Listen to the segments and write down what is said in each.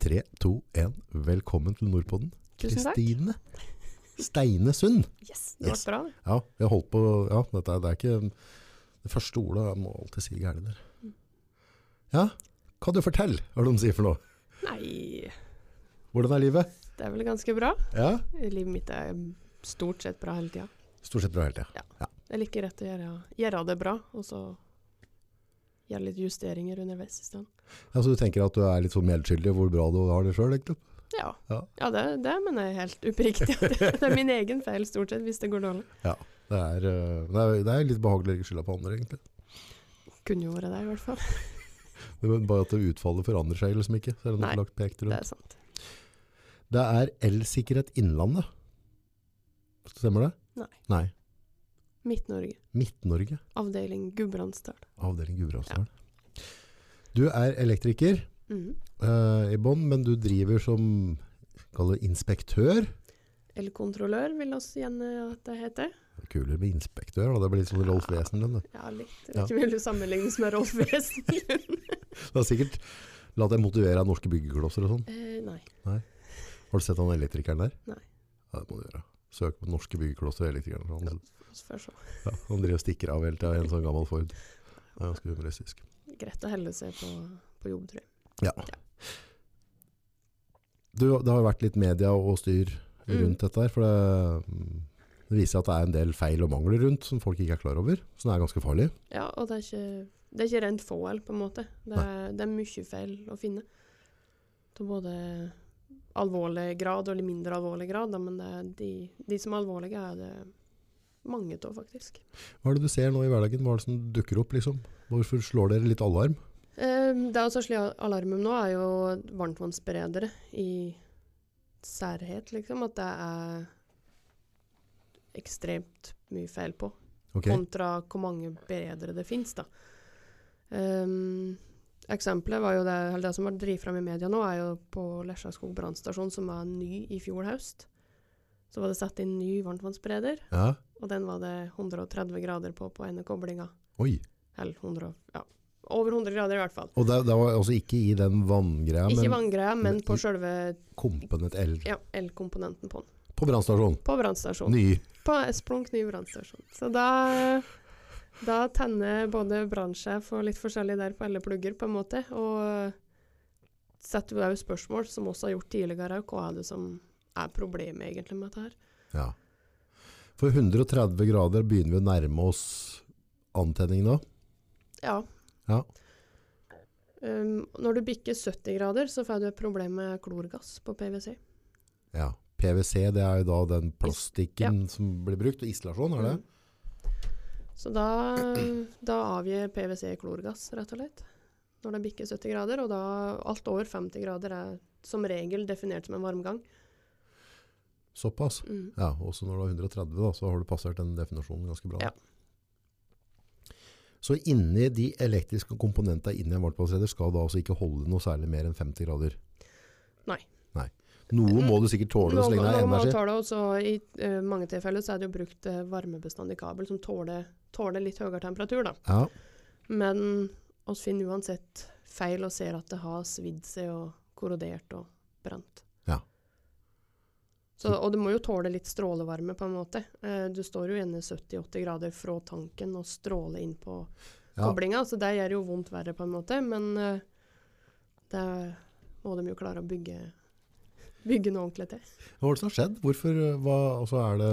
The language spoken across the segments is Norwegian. Tre, to, én. Velkommen til Nordpodden. Tusen takk. Kristine Steinesund. Yes, det Yes. ble bra. det. Ja, jeg holdt på Ja, dette er, det er ikke Det første ordet jeg må alltid si gærent der. Ja, hva du fortell, hva er det de sier for noe? Nei, Hvordan er livet? det er vel ganske bra. Ja, Livet mitt er stort sett bra hele tida. stort sett bra hele tida. Jeg liker rett å gjøre, gjøre det bra, og så gjøre litt justeringer underveis i stedet. Ja, så Altså, du tenker at du er litt sånn medskyldig i hvor bra du har det sjøl, egentlig? Ja, Ja. ja det, det mener jeg helt oppriktig. at Det, det er min egen feil stort sett, hvis det går dårlig. Det er, eh, det er, det er litt behagelig å legge skylda på andre, egentlig. Kunne jo vært det, i hvert fall. Men bare at det utfallet forandrer seg liksom ikke. Så er det Nei, noe lagt pekt rundt. Det er sant. Det er Elsikkerhet Innlandet. Stemmer det? Nei. Nei. Midt-Norge. Midt-Norge, Avdeling Gudbrandsdal. avdeling Gudbrandsdalen. Du er elektriker Mhm. eh, i bånn, men du driver som kaller det inspektør. Eller kontrollør, vil oss gjerne at det heter. Kulere med inspektør, da. det blir litt sånn Rolf Wesenlund. det. Ja, litt. Jeg Ja. vet ikke om jeg vil sammenlignes med Rolf Wesenlund. Det har sikkert latt deg motivere av norske byggeklosser og sånn. eh, nei. Har du sett han elektrikeren der? Nei. Ja, det må du gjøre. Søk på norske byggeklosser og elektrikeren. Han, Får se. ja, han driver og stikker av hele tida i en sånn gammel Ford. Det er ganske humoristisk. greit å helle seg på, på jobb, tror jeg. Du, det har jo vært litt media og styr rundt dette her, for det, mm, det viser at det er en del feil og mangler rundt som folk ikke er klar over, som er ganske farlig. Ja, og det er ikke, det er ikke rent fål, på en måte. Det er, det er mye feil å finne. Til både alvorlig grad og litt mindre alvorlig grad, da, men det er de, de som er alvorlige, er det mange av, faktisk. Hva er det du ser nå i hverdagen? Hva er det som dukker opp, liksom? Hvorfor slår dere litt alarm? Um, det er også slik at alarmen nå er jo varmtvannsberedere i særhet, liksom. At det er ekstremt mye feil på. Ok, kontra hvor mange beredere det finnes. Da. Ehm, eksempelet var jo det, eller det som var drevet fram i media nå, er jo på Lesjaskog brannstasjon, som var ny i fjor høst. Så var det satt inn ny varmtvannsbereder, ja, og den var det 130 grader på på ene koblinga. oi. Eller 100, og- ja, over 100 grader i hvert fall. Og det, det var altså ikke i den vanngreia, Ikke men vanngreia, men men på i- sjølve kompen et el ja, elkomponenten på den. på brannstasjon. På brannstasjonen. Ny. På Esplunk ny brannstasjon. Så da, da tenner både brannsjef og litt forskjellig der på alle plugger, på en måte. Og setter jo også spørsmål, som også har gjort tidligere, hva er det som er problemet egentlig med dette her? Ja. For 130 grader begynner vi å nærme oss antenning nå. Ja. Ja. Um, når du bikker 70 grader, så får du et problem med klorgass på PwC. Ja. PVC, det er jo da den plastikken som blir brukt, og isolasjon, er det? Mm. Så da, da avgir PwC klorgass, rett og slett. Når det bikker 70 grader, og da alt over 50 grader er som regel definert som en varmgang. Såpass. Mm. Ja, også når du har 130 da, så har du passert den definisjonen ganske bra. da. Ja. Så inni de elektriske komponentene inni en varmtvannsreder skal da altså ikke holde noe særlig mer enn 50 grader? Nei. Nei. Noe må du sikkert tåle så Noen- lenge det er noen må energi. tåle, og så I eh, mange tilfeller så er det jo brukt eh, varmebestandig kabel som tåler, tåler litt høyere temperatur. da. Ja, Men oss finner uansett feil og ser at det har svidd seg og korrodert og brent. Ja. Så, og det må jo tåle litt strålevarme, på en måte. Eh, Du står jo gjerne 70-80 grader fra tanken og stråler inn på ja. koblinga, så det gjør jo vondt verre, på en måte. Men eh, det må de jo klare å bygge, bygge noe ordentlig til. Hva er det som har skjedd? Hvorfor, eh, hva, altså er det...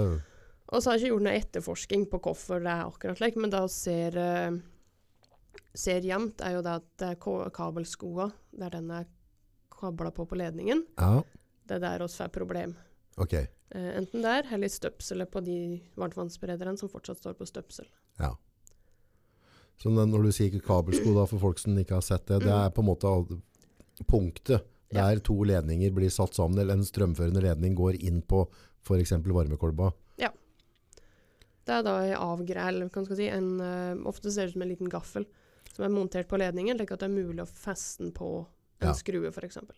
Og så har jeg ikke gjort noe etterforsking på hvorfor det er akkurat slik, men det vi ser, eh, ser jevnt, er jo det at det er ko- kabelskoa, der den er kabla på på ledningen, Ja, det er der oss får problem. ok. Eh, enten der, eller i støpselet på de varmtvannsberederne som fortsatt står på støpsel. Så når- når du sier kabelsko da, for folk som ikke har sett det, det er på en måte al- punktet Ja. der to ledninger blir satt sammen, eller en strømførende ledning går inn på for eksempel varmekolba. Det er da en avgreie, eller hva skal jeg si, en, eh, ofte ser det ut som en liten gaffel, som er montert på ledningen, slik at det er mulig å feste den på en Ja. skrue, for eksempel.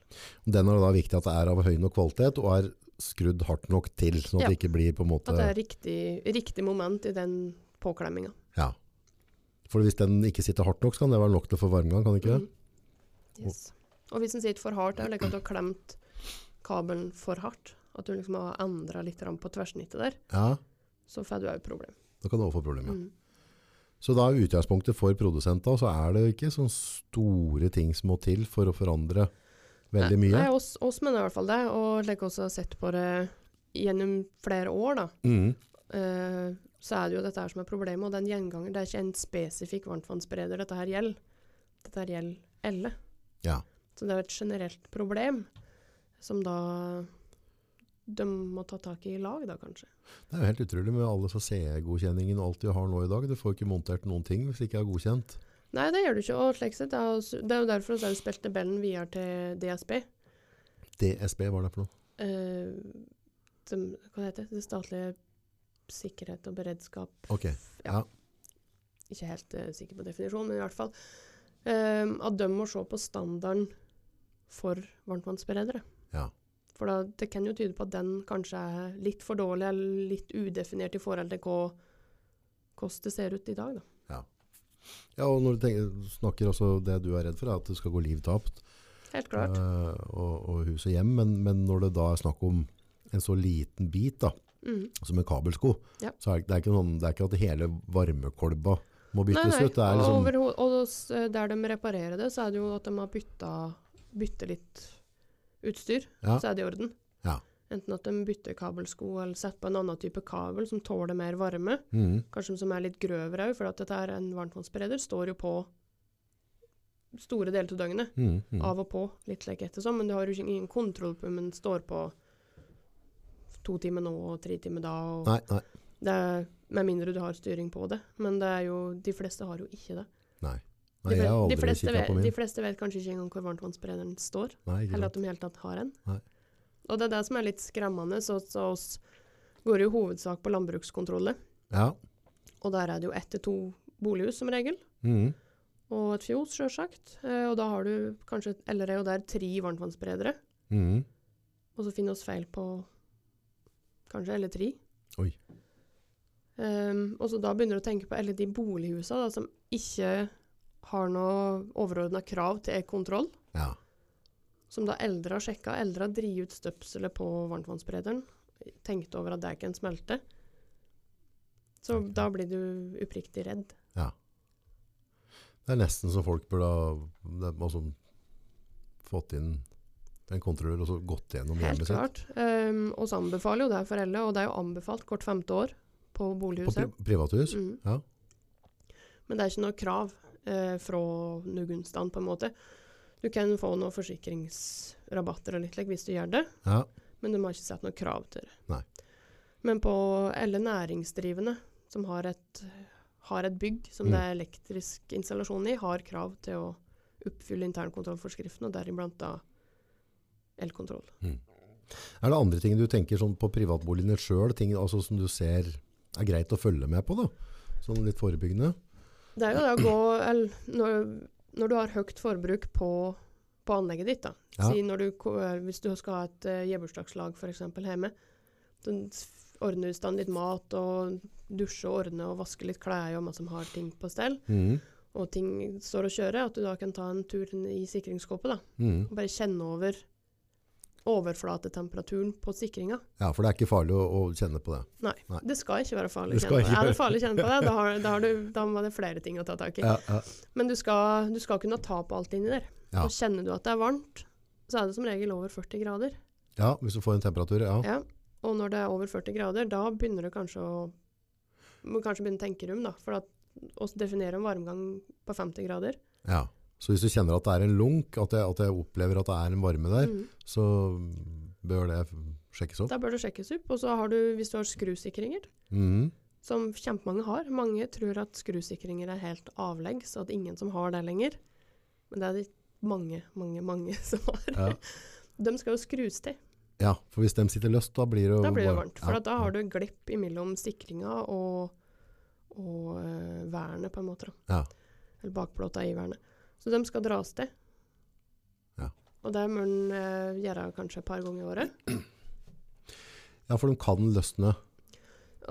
Den er det da viktig at det er av høy nok kvalitet, og er skrudd hardt nok til, sånn at Ja. det ikke blir på en måte... At det er riktig, riktig moment i den påklemminga. Ja. Mm. For hvis den ikke sitter hardt nok, så kan det være nok til å få varmgang, kan det ikke det? Mhm. Yes. Og hvis en sitter for hardt, er det like at du har klemt kabelen for hardt. At du liksom har endra litt grann på tverrsnittet der. Ja, Så får du òg problem. da kan du også få problemer. Mm. Så da er utgangspunktet for produsenter, så er det ikke sånne store ting som må til for å forandre veldig Nei, mye. Nei, oss, oss mener i hvert fall det. Og like også har sett på det gjennom flere år, da. Mm. Eh, så er det jo dette her som er problemet. Og den gjenganger, det er ikke en spesifikk varmtvannsspreder dette her gjelder. Dette her gjelder alle. Ja. Så det er jo et generelt problem som da de må ta tak i i lag, da kanskje. Det er jo helt utrolig med alle så CE-godkjenningen og alt du har nå i dag. Du får ikke montert noen ting hvis ikke det er godkjent. Nei, det gjør du ikke. Og slik sett, det er jo s- det er jo derfor vi spilte ballen videre til DSB. DSB, hva er det for noe? Eh, de, hva heter det? Det statlige sikkerhet og beredskap Ok, ja. Ikke helt eh, sikker på definisjonen, men i hvert fall. eh, at de må se på standarden for varmtvannsberedere. Ja. For da, det kan jo tyde på at den kanskje er litt for dårlig eller litt udefinert i forhold til hva hvordan det ser ut i dag. Da. Ja, og når du tenker, snakker også det du er redd for, er at det skal gå liv tapt. Helt klart. eh, og, og hus og hjem, men, men når det da er snakk om en så liten bit da, Mm. som en kabelsko, Ja. så er det, det, er ikke noen, det er ikke at hele varmekolba må Nei, byttes nei. ut. Det er liksom, overho- og s- der de reparerer det, så er det jo at de har bytta bytter litt utstyr. Ja. Så er det i orden. Ja. Enten at de bytter kabelsko eller setter på en annen type kabel som tåler mer varme. Mhm, Kanskje som er litt grøvere òg, for at dette er en varmtvannsbereder. Står jo på store deler av døgnet. mhm, mhm. Av og på, litt like ettersom. Men du har jo ikke ingen kontroll på om den står på to timer nå og tre timer da. Og Nei, nei, det er, med mindre du har styring på det. Men det er jo, de fleste har jo ikke det. nei, de, jeg har fle- de, aldri fleste kikket vet, på min. de fleste vet kanskje ikke engang hvor varmtvannsberederen står. Nei, ikke Eller sant. at de i hele tatt har en. Nei. Og det er det som er litt skremmende. Så, så oss går jo i hovedsak på landbrukskontroller. Ja, Og der er det jo ett til to bolighus som regel. mhm, Og et fjos, sjølsagt. Eh, og da har du kanskje eller er jo der tre varmtvannsberedere. mhm. Og så finner oss feil på kanskje eller tre. Oi. Ehm, og så da begynner du å tenke på alle de bolighusene da, som ikke har noe overordna krav til kontroll. ja, Som da eldre har sjekka. Eldre har drivet ut støpselet på varmtvannsberederen. Tenkt over at det kan smelte. Så Ok. da blir du oppriktig redd. det er nesten som folk burde ha det, er altså, fått inn en kontroller og så gått gjennom Helt hjemmet sitt. klart. Um, og så anbefaler jo det for alle, og det er jo anbefalt hvert femte år på På pri bolighuset. privathus? Mm. Ja. Men det er ikke noe krav eh, fra nugunstand, på en måte. Du kan få noen forsikringsrabatter og litt like, hvis du gjør det, Ja, men de har ikke satt noe krav til det. Nei. Men på alle næringsdrivende som har et, har et bygg som Mm. det er elektrisk installasjon i, har krav til å oppfylle internkontrollforskriften, og deriblant da elkontroll. Er det andre ting du tenker sånn på privatboligene sjøl, ting altså, som du ser er greit å følge med på? da? Sånn litt forebyggende? Det er jo det å gå eller, når, når du har høyt forbruk på, på anlegget ditt, da. Ja. Si når du, ko- eh, hvis du skal ha et uh, hjemmebursdagslag f.eks. hjemme. Da s- ordner du i stand litt mat og dusje og ordne og vaske litt klær og man som har ting på stell. Mhm, Og ting står og kjører. At du da kan ta en tur inn i sikringsskåpet da, mhm. og bare kjenne over overflatetemperaturen på sikringa. Ja, for det er ikke farlig å, å kjenne på det. Nei, Nei. det skal ikke være farlig å Det skal kjenne på det. ikke Er det være- farlig å kjenne på det, da, har, da, har du, da må det flere ting å ta tak i. Ja, ja. Men du skal, du skal kunne ta på alt inni der. Ja. Og kjenner du at det er varmt, så er det som regel over 40 grader. ja, hvis du får en temperatur, ja. Ja. Og når det er over 40 grader, da begynner du kanskje å må kanskje begynne å tenke rum, da. For at å definere en varmgang på 50 grader ja. Så hvis du kjenner at det er en lunk, at jeg, at jeg opplever at det er en varme der, mm, så bør det sjekkes opp. Da bør det sjekkes opp. Og så har du, hvis du har skrusikringer, Mhm, som kjempemange har Mange tror at skrusikringer er helt avleggs, og at ingen som har det lenger. Men det er det mange, mange, mange som har. ja. De skal jo skrus til. ja, for hvis de sitter løst, da blir det, Da blir det varm- varmt. For ja, at da har du glipp imellom sikringa og, og eh, vernet, på en måte. Da. Ja. Eller bakplata i vernet. Så de skal dras til. Ja. Og det må en eh, gjøre kanskje et par ganger i året. ja, for de kan løsne.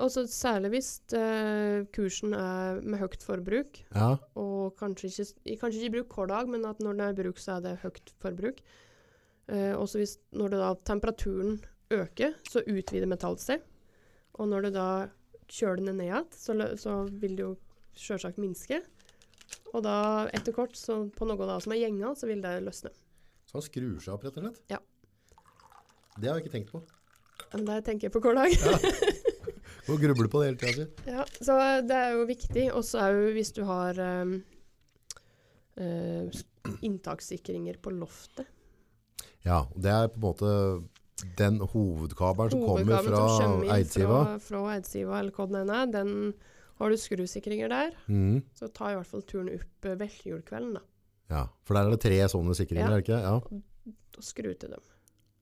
Og så særlig hvis eh, kursen er med høyt forbruk, Ja, og kanskje ikke, i- kanskje ikke i bruk hver dag, men at når den er i bruk, så er det høyt forbruk. Eh, også hvis når det da temperaturen øker, så utvider metallet seg. Og når du da kjøler den ned igjen, så, lø- så vil det jo selvsagt minske. Og da etter kort, så på noe da som er gjenga, så vil det løsne. så han skrur seg opp rett og slett. Ja. Det har jeg ikke tenkt på. Men det tenker jeg på hver dag. Må gruble på det hele tiden. sier. Ja, så det er jo viktig. Og så er jo hvis du har um, eh, s- inntakssikringer på loftet. Ja, og det er på en måte den hovedkabelen som kommer Hovedkabelen fra som kommer inn Eidsiva. Fra, fra Eidsiva eller hva den er, den har du skrusikringer der. Mhm. Så ta i hvert fall turen opp eh, veltjulkvelden, da. Ja, for der er det tre sånne sikringer, Ja. er det ikke? Ja. Og skru til dem.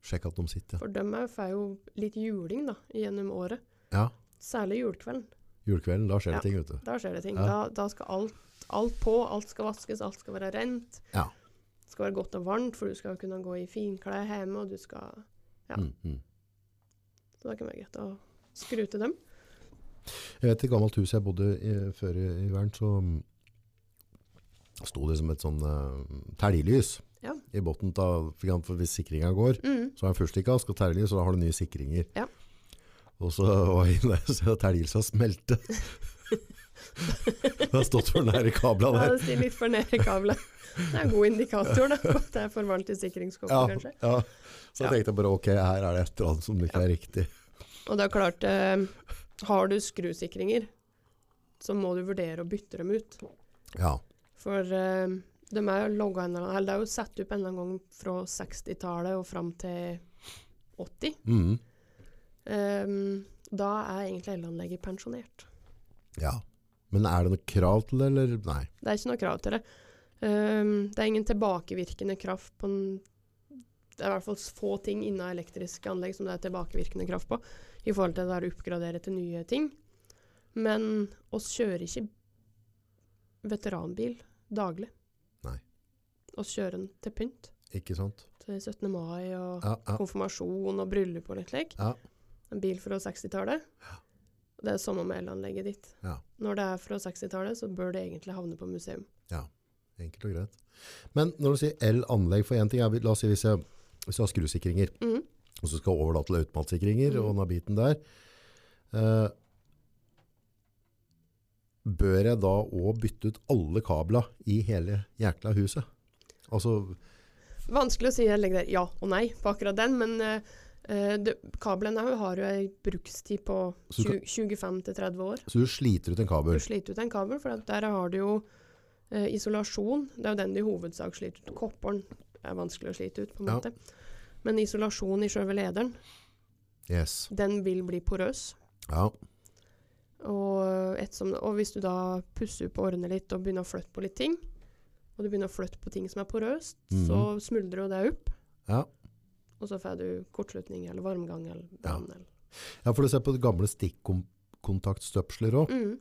Sjekk at de sitter, ja. For de er- får jo litt juling da, gjennom året. Ja. Særlig julekvelden. Julekvelden, da skjer det Ja. ting, vet du. Da skjer det ting. Ja. Da, da skal alt, alt på. Alt skal vaskes, alt skal være rent. Ja. Det skal være godt og varmt, for du skal kunne gå i finklær hjemme, og du skal Ja. Mm, mm. Så det kan være greit å skru til dem. Jeg vet i et gammelt hus jeg bodde i, eh, før i, i verden, så mm, sto det som et sånn eh, telgelys Ja. i botten av, for eksempel hvis sikringen går, Mm. så er den først ikke av, skal telgelys, og da har du nye sikringer. Ja. Og så var jeg inne der, så telgelsa smelte. det har stått for nære kabla Ja, der. det stiger litt for ned i kabelen. Det er en god indikator da, på at det er for varmt i sikringskåpa, Ja, kanskje. ja. Så Ja. jeg tenkte jeg bare, ok, her er det et eller annet som ikke er riktig. Og det er klart, eh, har du skrusikringer, så må du vurdere å bytte dem ut. Ja, For eh, de er jo logget en eller annen, eller det er jo satt opp en eller annen gang fra 60-tallet og fram til 80. Mhm. Ehm, da er egentlig elanlegget pensjonert. ja. Men er det noe krav til det, eller? Nei. Det er ikke noe krav til det. Ehm, det er ingen tilbakevirkende kraft på en Det er i hvert fall få ting innen elektriske anlegg som det er tilbakevirkende kraft på, i forhold til det er å oppgradere til nye ting. Men oss kjører ikke veteranbil daglig. Nei. Oss kjører den til pynt. Ikke sant? Til 17. mai og Ja, ja. konfirmasjon og bryllup og litt slik. Ja. En bil fra 60-tallet. Det er samme med elanlegget ditt. Ja. Når det er fra 60-tallet, så bør det egentlig havne på museum. Enkelt og greit. Men når du sier el-anlegg, for en ting er, la oss si hvis jeg, hvis jeg har skrusikringer, Mhm. og så skal jeg over da til automatsikringer Mhm. og denne biten der, eh, bør jeg da også bytte ut alle kabler i hele jækla huset? Altså, Vanskelig å si jeg legger der ja og nei på akkurat den, men eh, eh, det, kabelen her har jo en brukstid på Så du 25-30 år. så du sliter ut en Du kabel? sliter ut en kabel, for at der har du jo eh, isolasjon. Det er jo den du i hovedsak sliter ut. Kopperen er vanskelig å slite ut, på en Ja. måte. Men isolasjon i sjølve lederen, Yes. den vil bli porøs. Ja. Og, ettersom, og hvis du da pusser opp og ordner litt og begynner å flytte på litt ting, og du begynner å flytte på ting som er porøst, Mhm. så smuldrer jo det opp. Ja. Og så får du kortslutning eller varmgang eller brann. eller- ja, for du ser på gamle stikkontaktstøpsler også. Mm.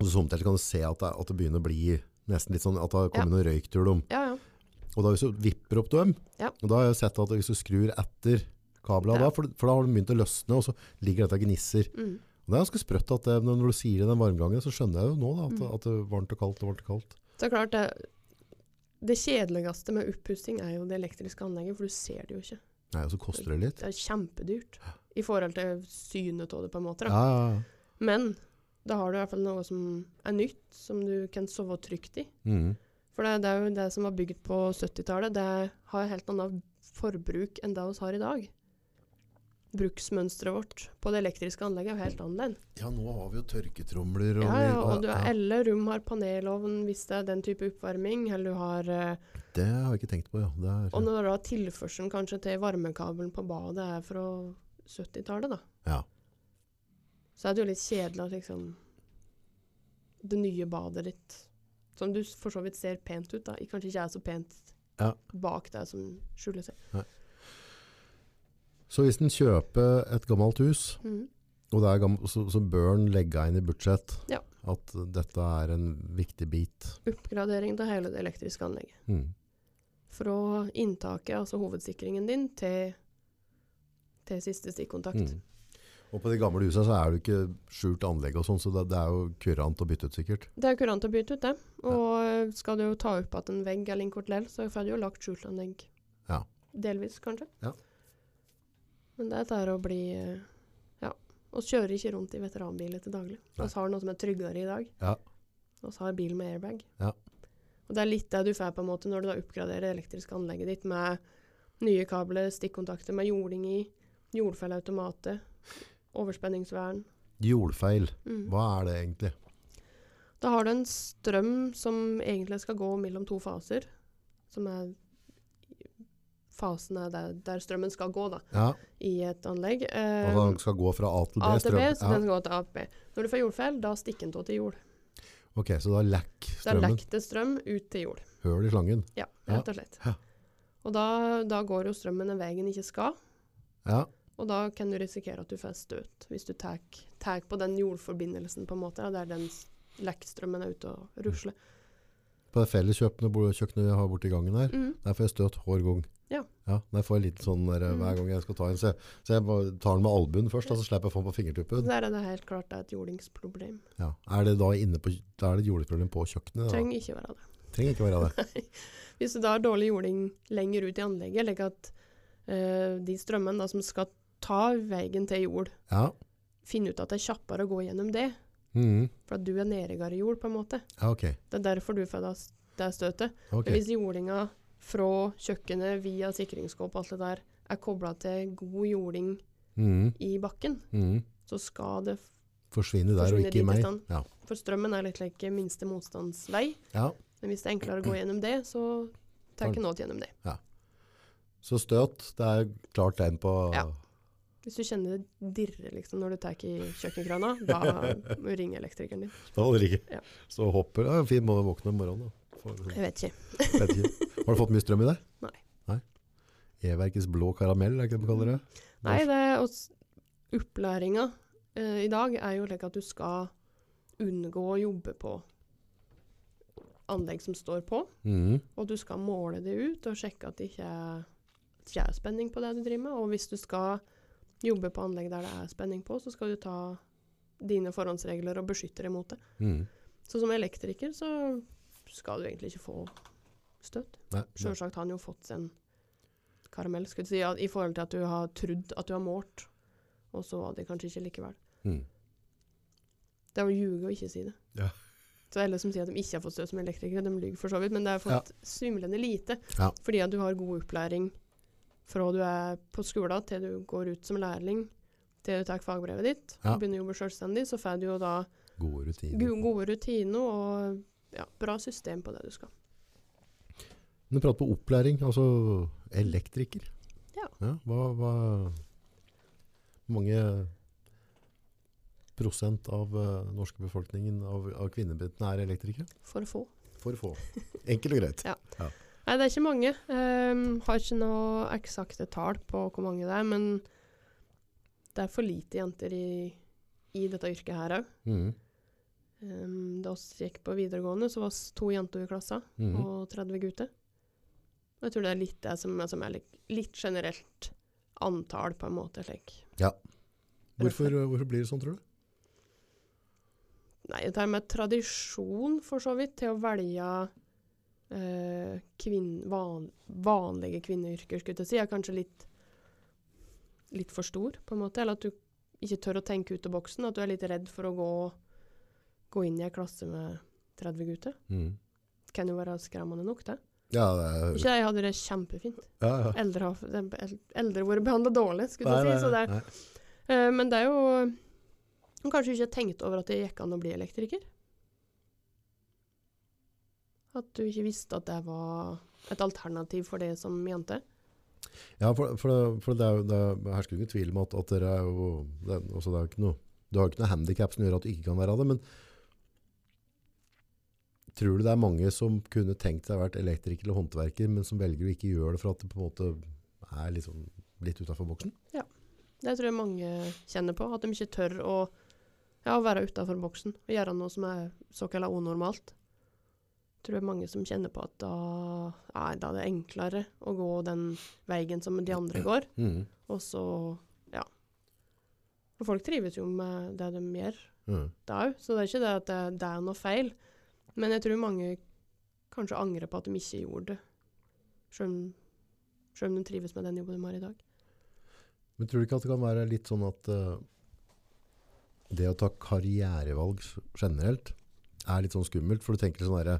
Og så somtid kan du se at det, at det begynner å bli nesten litt sånn, at det har kommet noen røyktur om. Ja, ja. Og da hvis du vipper opp dem, Ja. og da har jeg sett at hvis du skrur etter kabla Ja. da, for, for da har den begynt å løsne, og så ligger dette og gnisser. Mm. Og det er ganske sprøtt at det, når du sier det den varmgangen, så skjønner jeg jo nå da, at, Mm. at det er varmt og kaldt og varmt og kaldt. Så klart det, det kjedeligste med oppussing er jo det elektriske anlegget, for du ser det jo ikke. Nei, og så koster det litt. Det er kjempedyrt i forhold til synet av det, på en måte. Da. Ja, ja, ja. Men da har du i hvert fall noe som er nytt, som du kan sove trygt i. Mhm. For det, det er jo det som var bygd på 70-tallet, det har helt annet forbruk enn det vi har i dag. Bruksmønsteret vårt på det elektriske anlegget er jo helt annerledes. Ja, nå har vi jo tørketromler. Og, Ja, ja, vi- og du, ja, alle rom har panelovn hvis det er den type oppvarming, eller du har eh, Det har jeg ikke tenkt på, ja. Det er, Og når da tilførselen kanskje til varmekabelen på badet er fra 70-tallet, da, Ja. så er det jo litt kjedelig at liksom Det nye badet ditt, som du s- for så vidt ser pent ut, da, i- kanskje ikke er så pent Ja. bak det som skjuler seg. Så hvis en kjøper et gammelt hus, Mhm. Og det er gam- så, så bør en legge inn i budsjett Ja. at dette er en viktig bit. Oppgradering av hele det elektriske anlegget. Mm. Fra inntaket, altså hovedsikringen din, til, til siste stikkontakt. Mm. Og på de gamle husene så er det jo ikke skjult anlegg og sånn, så det, det er jo kurant å bytte ut sikkert. Det er kurant å bytte ut det. Og eh, skal du jo ta opp igjen en vegg eller en kort lell, så får du jo lagt skjultanlegg. Ja. Delvis, kanskje. Ja. Men det er der å bli eh, Ja. Vi kjører ikke rundt i veteranbiler til daglig. Vi Nei. har noe som er tryggere i dag. Ja. Vi har bil med airbag. Ja. Og det er litt det du får på en måte når du da oppgraderer det elektriske anlegget ditt med nye kabler, stikkontakter med jording i, jordfelleautomater, overspenningsvern. Jordfeil, Mm. hva er det egentlig? Da har du en strøm som egentlig skal gå mellom to faser, som er fasen er der, der strømmen skal gå da, Ja, i et anlegg. Eh, altså den skal gå fra A til B A til B, så strøm. den skal gå til A til B. Når du får jordfeil, da stikker den av til jord. Ja. Ok, så da lekk Da strømmen. lekk det strøm ut til jord. Høl i slangen. Ja, Ja. rett og slett. Ja. Og da, da går jo strømmen den veien den ikke skal, Ja, og da kan du risikere at du får støt, hvis du tar tar på den jordforbindelsen på en måte, da, der den s- lekkstrømmen er ute og rusler. på det felleskjøkkenet bo- kjøkkenet jeg har borte i gangen her, Mm. der får jeg støt hver gang. Ja. Mm. der får jeg litt sånn der, eh, hver gang jeg skal ta en. Så jeg, så jeg bare tar den med albuen først, og så slipper jeg å få den på fingertuppen. Der er det helt klart det er et jordingsproblem. Ja. Er det da inne på, da er det et jordeproblem på kjøkkenet? Da? Trenger ikke være det. Trenger ikke være det. Hvis du da har dårlig jording lenger ut i anlegget, like at eh, de strømmene da, som skal ta veien til jord, Ja. finner ut at det er kjappere å gå gjennom det, Mhm. for at du er nedegere jord på en måte. ja, ok. Det er derfor du får da s- det støtet. Ok. Men hvis jordinga fra kjøkkenet via sikringsskåp og alt det der er kobla til god jording Mhm. i bakken, Mhm. så skal det f- Forsvinne der Forsvinne og ikke i dit i meg. stand. Ja. For strømmen er litt like minste motstandsvei. ja. Men hvis det er enklere å gå gjennom det, så tar ikke nåt gjennom det. Så støt, det er klart tegn på Ja. Hvis du kjenner det dirrer liksom, når du tar i kjøkkenkrana, da må du ringe elektrikeren din. Da holder det ikke. Ja. Så hopper det. Ja, fin må våkne om morgenen. Da. For, Jeg vet ikke. vet ikke. Har du fått mye strøm i deg? Nei. Nei. E-verkets blå karamell, er det ikke det man kaller det? Nei, det er oss- opplæringa eh, i dag er jo like at du skal unngå å jobbe på anlegg som står på, Mhm. og du skal måle det ut og sjekke at det ikke er, ikke er spenning på det du driver med. Og hvis du skal jobbe på anlegg der det er spenning på, så skal du ta dine forhåndsregler og beskytte deg mot det. Mhm. Så som elektriker så skal du egentlig ikke få støt. Nei. nei. Sjølsagt har han jo fått seg en karamell, skulle jeg si, at- i forhold til at du har trodd at du har målt, og så var det kanskje ikke likevel. Mhm. Det er å ljuge og ikke si det. Ja. Så alle som sier at de ikke har fått støt som elektrikere, de lyver for så vidt, men det er fått svimlende lite, Ja. fordi at du har god opplæring fra du er på skolen til du går ut som lærling, til du tar fagbrevet ditt, Ja. og begynner å jobbe selvstendig, så får du jo da Gode rutiner. go- gode rutiner og ja, bra system på det du skal. Men prat på opplæring, altså elektriker. Ja. hva, hva mange prosent av eh, norske befolkningen av, av kvinnebetene er elektrikere? For å få. For få. Enkelt og greit. Ja. Nei, det er ikke mange. Ehm, har ikke noe eksakte tall på hvor mange det er, men det er for lite jenter i, i dette yrket her òg. Mhm, da oss gikk på videregående, så var oss to jenter i klassen mhm. og 30 gutter. Og jeg tror det er litt det som er, som er litt, litt generelt antall, på en måte. Slik. Hvorfor, eh, hvorfor blir det sånn, tror du? Nei, dette her med tradisjon, for så vidt, til å velge eh, kvinn, van, vanlige kvinneyrker, skulle jeg til å si, er kanskje litt, litt for stor, på en måte. Eller at du ikke tør å tenke ut av boksen. At du er litt redd for å gå, gå inn i en klasse med 30 gutter. Mhm. Kan jo være skremmende nok, det. Ja, det er, Ikke jeg hadde det kjempefint. ja, ja. Eldre har de- el- eldre vært behandla dårlig, skulle Nei, jeg til å si. Så det, nei, nei. er- eh, men det er jo hun kanskje ikke har tenkt over at det gikk an å bli elektriker. At du ikke visste at det var et alternativ for det som jente. Ja, for, for, det, for det er jo det er- hersker jo ikke tvil om at, at dere er jo det, er- altså det er jo ikke noe, Du har jo ikke noe handikap som gjør at du ikke kan være det, men tror du det er mange som kunne tenkt seg å vært elektriker eller håndverker, men som velger å ikke gjøre det for at det på en måte er litt, sånn, litt utenfor boksen? Det tror jeg mange kjenner på. At de ikke tør å ja, å være utafor boksen og gjøre noe som er såkalt unormalt. Tror jeg mange som kjenner på at da, nei, da er det enklere å gå den veien som de andre går. Og så, ja. Og folk trives jo med det de gjør Mm. da òg, så det er ikke det at det, det er noe feil. Men jeg tror mange kanskje angrer på at de ikke gjorde det, sjøl om, sjøl om de trives med den jobben de har i dag. Men tror du ikke at det kan være litt sånn at eh, det å ta karrierevalg s- generelt er litt sånn skummelt, for du tenker sånn derre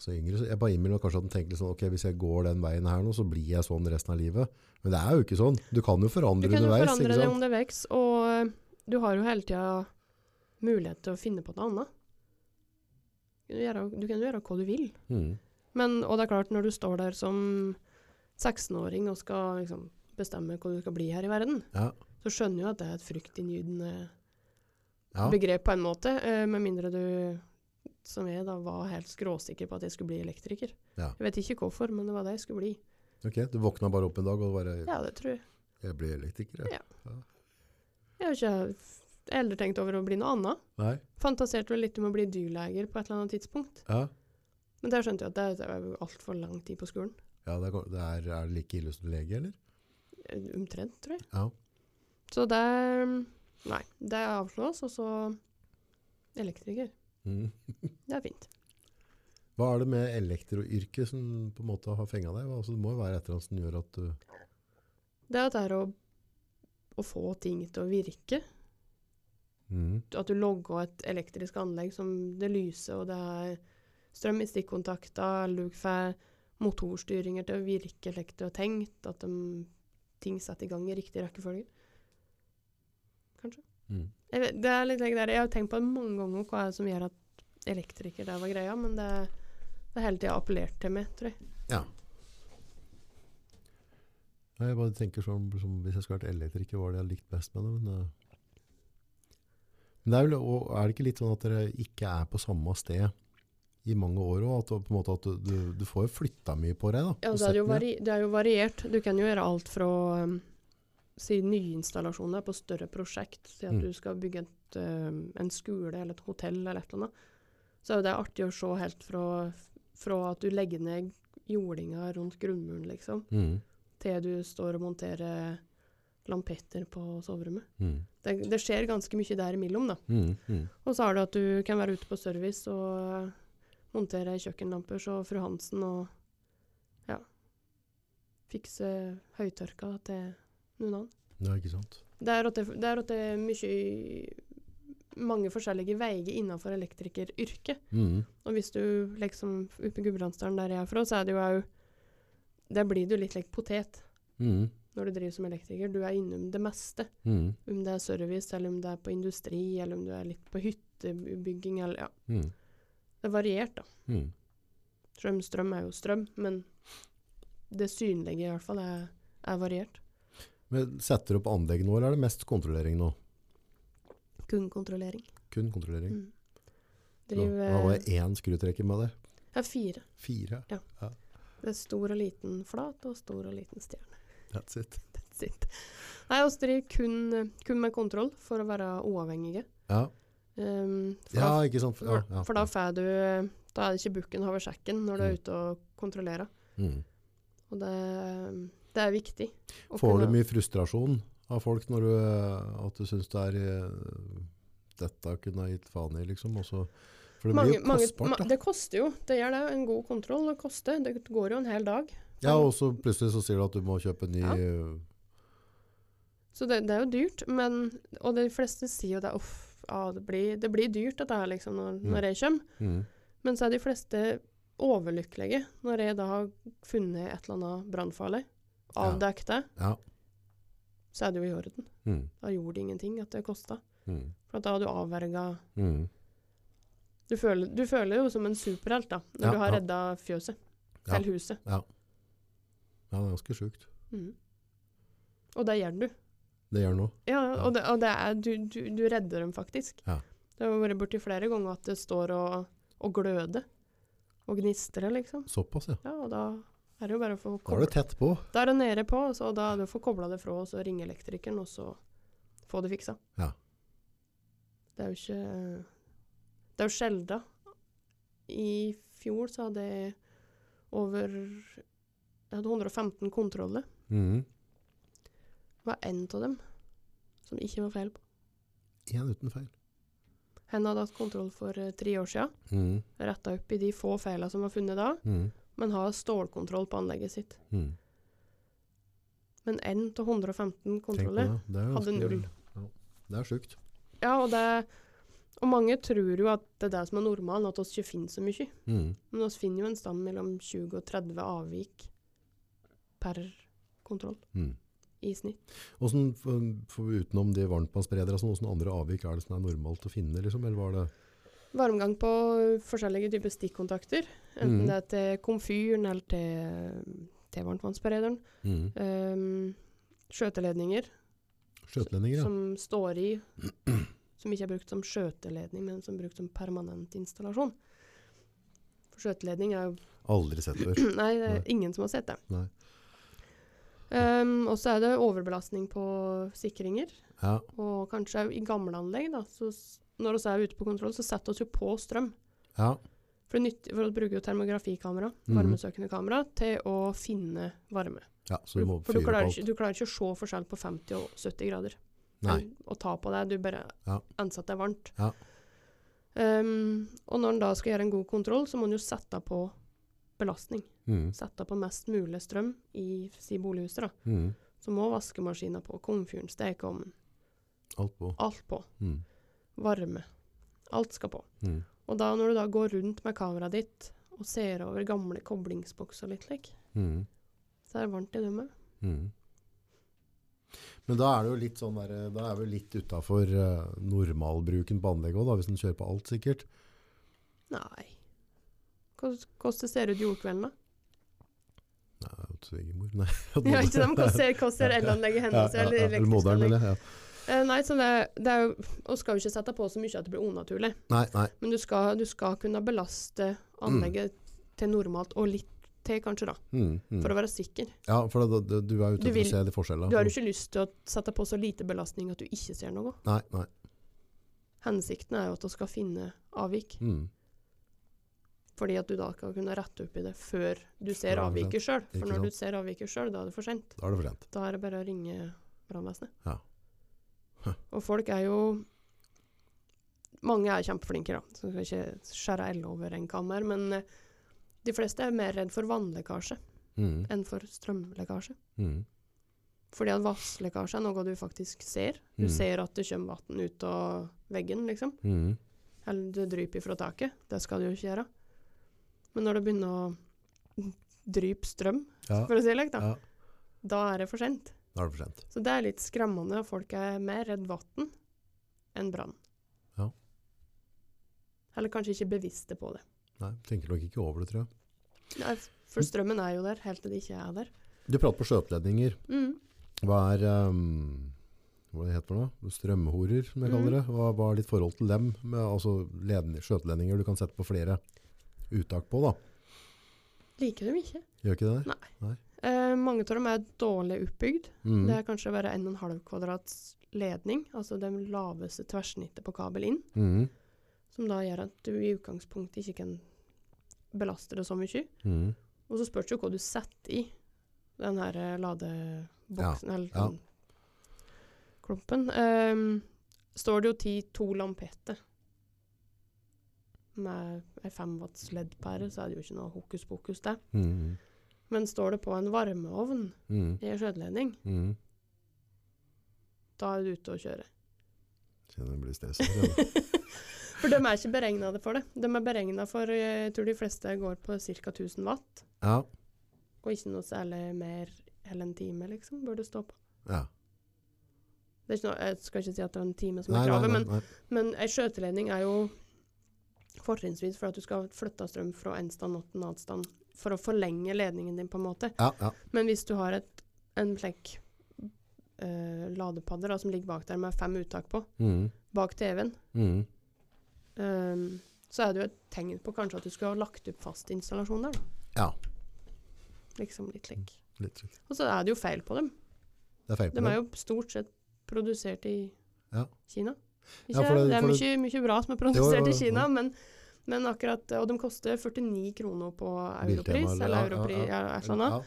så yngre, så jeg bare innbiller meg kanskje at den tenker litt sånn, ok, hvis jeg går den veien her nå, så blir jeg sånn resten av livet. Men det er jo ikke sånn. Du kan jo Du forandre kan jo underveis, forandre ikke det sant? om det vokser, og eh, du har jo hele tida mulighet til å finne på noe annet. Du kan jo gjøre, du kan jo gjøre hva du vil. Mm. Men, og det er klart, når du står der som 16-åring og skal liksom, bestemme hva du skal bli her i verden, Ja. så skjønner jo at det er et fryktinngytende Ja. begrep på en måte, eh, med mindre du, som jeg da, var helt skråsikker på at jeg skulle bli elektriker. Ja. Jeg vet ikke hvorfor, men det var det jeg skulle bli. Ok, du våkna bare opp en dag og bare, Ja, det tror jeg. jeg blir elektriker, jeg. Ja. Jeg har ikke jeg har heller tenkt over å bli noe annet. Nei? Fantaserte vel litt om å bli dyrleger på et eller annet tidspunkt. Ja. Men der skjønte jeg at det, det var jo altfor lang tid på skolen. Ja, det er, det er, er det like ille som lege, eller? Eh, Omtrent, tror jeg. Ja. Så det mm, Nei, det avslås, og så elektriker. Mm. Det er fint. Hva er det med elektroyrket som på en måte har fenga deg? Altså, det må jo være et eller annet som gjør at du Det at det er å, å få ting til å virke. Mm. At du logger et elektrisk anlegg som det lyser, og det er strøm i stikkontakter, eller du får motorstyringer til å virke slik du har tenkt, at de, ting setter i gang i riktig rekkefølge. Mm. Jeg, vet, det er litt like der. jeg har tenkt på det mange ganger hva er det som gjør at elektriker der var greia, men det det har hele tida appellert til meg, tror jeg. Nei, Jeg bare tenker sånn som hvis jeg skulle vært elektriker, hva var det jeg likte best med det? Men, eh. men det er, vel, og er det ikke litt sånn at dere ikke er på samme sted i mange år òg? At, du- på en måte at du, du, du får jo flytta mye på deg, da. Ja, og det, er jo sett mye. vari, det er jo variert. Du kan jo gjøre alt fra um, si nyinstallasjoner på større prosjekt, si at Mm. du skal bygge et, um, en skole eller et hotell eller et eller annet. Så er jo det artig å se helt fra, fra at du legger ned jordinga rundt grunnmuren, liksom, Mm, til du står og monterer lampetter på soverommet. mm, Det, det skjer ganske mye der imellom, da. mm, mm. Og så er det at du kan være ute på service og eh, montere kjøkkenlamper, så fru Hansen og ja, fikse høytørka til noen annen. Ja, ikke sant. Det er at det, det, er at det er mye, mange forskjellige veier innenfor elektrikeryrket. Mm, Og hvis du liksom oppe i Gudbrandsdalen der jeg er fra, så er det jo òg Der blir du litt like potet mm, når du driver som elektriker. Du er innom det meste. mm, Om det er service, eller om det er på industri, eller om du er litt på hyttebygging, eller ja. mm, Det er variert, da. mm. Strøm, strøm er jo strøm, men det synlige i hvert fall er, er variert. Men setter du opp anlegg nå, eller er det mest kontrollering nå? Kun kontrollering. Kun kontrollering. Mm. Så, Driver Da var det én skrutrekker med det. Jeg har fire. Fire. Det er stor og liten flat og stor og liten stjerne. That's it. That's it. Nei, oss driver kun, kun med kontroll for å være uavhengige. Ja, Um, for, ja da, ikke sant. Ja, ja. for da får du Da er det ikke bukken over sekken når du er Mm. ute og kontrollerer. Mm. Og det, det er viktig. å Får kunne- du mye frustrasjon av folk når du, eh, at du syns det er eh, Dette kunne jeg gitt faen i, liksom. og så- for det blir jo kostbart, ma- da. det koster jo. Det gjør det. En god kontroll det koster. Det går jo en hel dag. Ja, og så plutselig så sier du at du må kjøpe en ny Ja. eh, Så det, det er jo dyrt, men, og de fleste sier jo det, uff, ja, det, blir, det blir dyrt dette her liksom, når, Mm. når jeg kommer. mm, Men så er de fleste overlykkelige når jeg da har funnet et eller annet brannfarlig, Ja. avdekket det, Ja. så er det jo i orden. Mm, Da gjorde det ingenting at det kosta. mm, For at da har du avverga mm. du føler, du føler jo som en superhelt da, når Ja, du har ja. redda fjøset. Ja. Eller huset. Ja, det er ganske sjukt. Mhm. Og det gjør du. Det gjør noe. Ja, og det, og det er, du, du, du redder dem faktisk. Ja. Det har vært borti flere ganger at det står og, og gløder og gnistrer, liksom. Såpass, ja. Ja, og da er det jo bare å få Da er kobla du tett på. Da er det nede på, så da er det å få kobla det fra, og så ringe elektrikeren, og så få det fiksa. Ja. Det er jo ikke Det er jo sjelda. I fjor så hadde jeg over Jeg hadde 115 kontroller. Mm. Det var én av dem som det ikke var feil på. Én uten feil. Han hadde hatt kontroll for eh, tre år siden, Mm, retta opp i de få feilene som var funnet da, mm, men har stålkontroll på anlegget sitt. mm. Men én av 115 Tenk på kontroller. det. Det er Hadde ganske- null. Ja, det er sjukt. Ja, og det Og mange tror jo at det er det som er normalen, at oss ikke finner så mye. Mm. Men oss finner jo en stand mellom 20 og 30 avvik per kontroll Mm. i snitt. Hvordan, for- for utenom de varmtvannsberedere, og sånn, hvordan andre avvik er det som er normalt å finne? Liksom? Eller var det Varmgang på eh, forskjellige typer stikkontakter. Mhm. Enten det er til komfyren eller til, til varmtvannsberederen. mm. Ehm, skjøteledninger skjøtelendinger? Ja. som står i, som ikke er brukt som skjøteledning, men som er brukt som permanent installasjon. For skjøteledning er jo Aldri sett før. Nei, det er Nei. ingen som har sett det. Nei. Ehm, og så er det overbelastning på sikringer, Ja. og kanskje òg i gamle anlegg. Da, så s- når vi er ute på kontroll, så setter vi jo på strøm. ja. For, det nytt, for å bruke jo termografikamera, Mhm. varmesøkende kamera, til å finne varme. ja så For, du må du- for fyre du, på klarer alt. ikke, du klarer ikke å se forskjell på 50 og 70 grader. Nei. Men Å ta på deg, du bare Ja. anser at det er varmt. Ja. Ehm, og når en da skal gjøre en god kontroll, så må en jo sette på belastning. Mm. Sette på mest mulig strøm i si bolighuset. da. Mm. Så må vaskemaskina på, komfyren, stekeovnen, Alt på. alt på. Mm. Varme. Alt skal på. Mm. Og da når du da går rundt med kameraet ditt og ser over gamle koblingsbokser litt slik, Mm. så er det varmt i dømmet. Mm. Men da er det jo litt sånn der, da er vi litt utafor eh, normalbruken på anlegget òg, hvis en kjører på alt, sikkert. Nei. Hvordan hvordan det ser ut jordkvelden, da? Nei, det er jo til svigermor. Nei. Ja, ikke dem, hvordan ser- hvordan ser elanlegget Ja, hennes ja, eller ja, eller elektriske moderen, anlegg? eller? Ja. Eh, Nei, så det, det er jo Og skal jo ikke sette på så mye at det blir unaturlig. Nei, nei. Men du skal, du skal kunne belaste anlegget til normalt, og litt til kanskje, da. Mm, mm. For å være sikker. Ja, for da, da, du er ute Du etter vil- å se de forskjellene. Mm. Du har jo ikke lyst til å sette på så lite belastning at du ikke ser noe. Nei, nei. Hensikten er jo at du skal finne avvik, Mm. fordi at du da skal kunne rette opp i det før Før du det ser er avviket sjøl. Ikke For når du ser avviket sjøl, da er det for sent. Da er det for sent. Da er det bare å ringe brannvesenet. Ja. Huh. Og folk er jo Mange er kjempeflinke, da, så skal jeg ikke skjære alle over en kam her, men eh, de fleste er mer redd for vannlekkasje Mm, enn for strømlekkasje. mm, Fordi at vannlekkasje er noe du faktisk ser. Du Mm. ser at det kommer vann ut av veggen, liksom. mm. Eller det dryper fra taket. Det skal det jo ikke gjøre. Men når det begynner å drype strøm, Ja, for å si det like, da, ja. da er det for sent. Da er det for sent. Så det er litt skremmende. og Folk er mer redd vann enn brann. Ja. Eller kanskje ikke bevisste på det. Nei, tenker nok ikke over det, tror jeg. Nei, Mm. for strømmen er jo der helt til det ikke er der. Du prater på skjøteledninger. Mm. Hva er um, Hva det heter for noe? Strømhorer, som Mm. jeg kaller det. Hva, hva er ditt forhold til dem? Med, altså ledende, skjøteledninger du kan sette på flere uttak på, da. Liker dem ikke. Gjør ikke det der? Eh, mange av dem er dårlig oppbygd. Mm. Det er kanskje bare 1,5 kvadrats ledning, altså det laveste tverrsnittet på kabel inn. Mm. Som da gjør at du i utgangspunktet ikke kan belaste det så mye. Mm. Og så spørs det jo hva du setter i den her eh, ladeboksen, eller ja. den klumpen. Ehm, står det jo 10-2 lampetter. Med ei 5 watts LED-pære, så er det jo ikke noe hokus pokus, det. Mm. Men står det på en varmeovn Mm. i ei skjøteledning, Mm. da er du ute å kjøre. Kjenner jeg blir stresset. allerede. For de er ikke beregna for det. De er beregna for eh, Jeg tror de fleste går på ca. 1000 watt. Ja. Og ikke noe særlig mer enn en time, liksom, bør du stå på. ja. Det er ikke noe, jeg skal ikke si at det er en time som Nei, er nei, kravet, nei, men, nei. men ei skjøteledning er jo fortrinnsvis for at du skal flytte strøm fra en stand til en annen stand for å forlenge ledningen din, på en måte. Ja, ja. Men hvis du har et, en flekk eh, ladepadder da, som ligger bak der med fem uttak på, Mm. bak TV-en, Mm. eh, så er det jo et tegn på kanskje at du skulle ha lagt opp fast installasjon der. Da. Ja. Liksom litt slik. Litt sykt. Og så er det jo feil på dem. Det er feil på De er det. jo stort sett produsert i Ja. Kina. Ikke? Ja, for det- det, er for mye, mye bra som er Jo, jo, produsert jo, i Kina, jo. men, men akkurat Og de koster 49 kroner på europris, Biltema, eller- eller ja, europris, ja, ja, ja. et eller annet. Ja.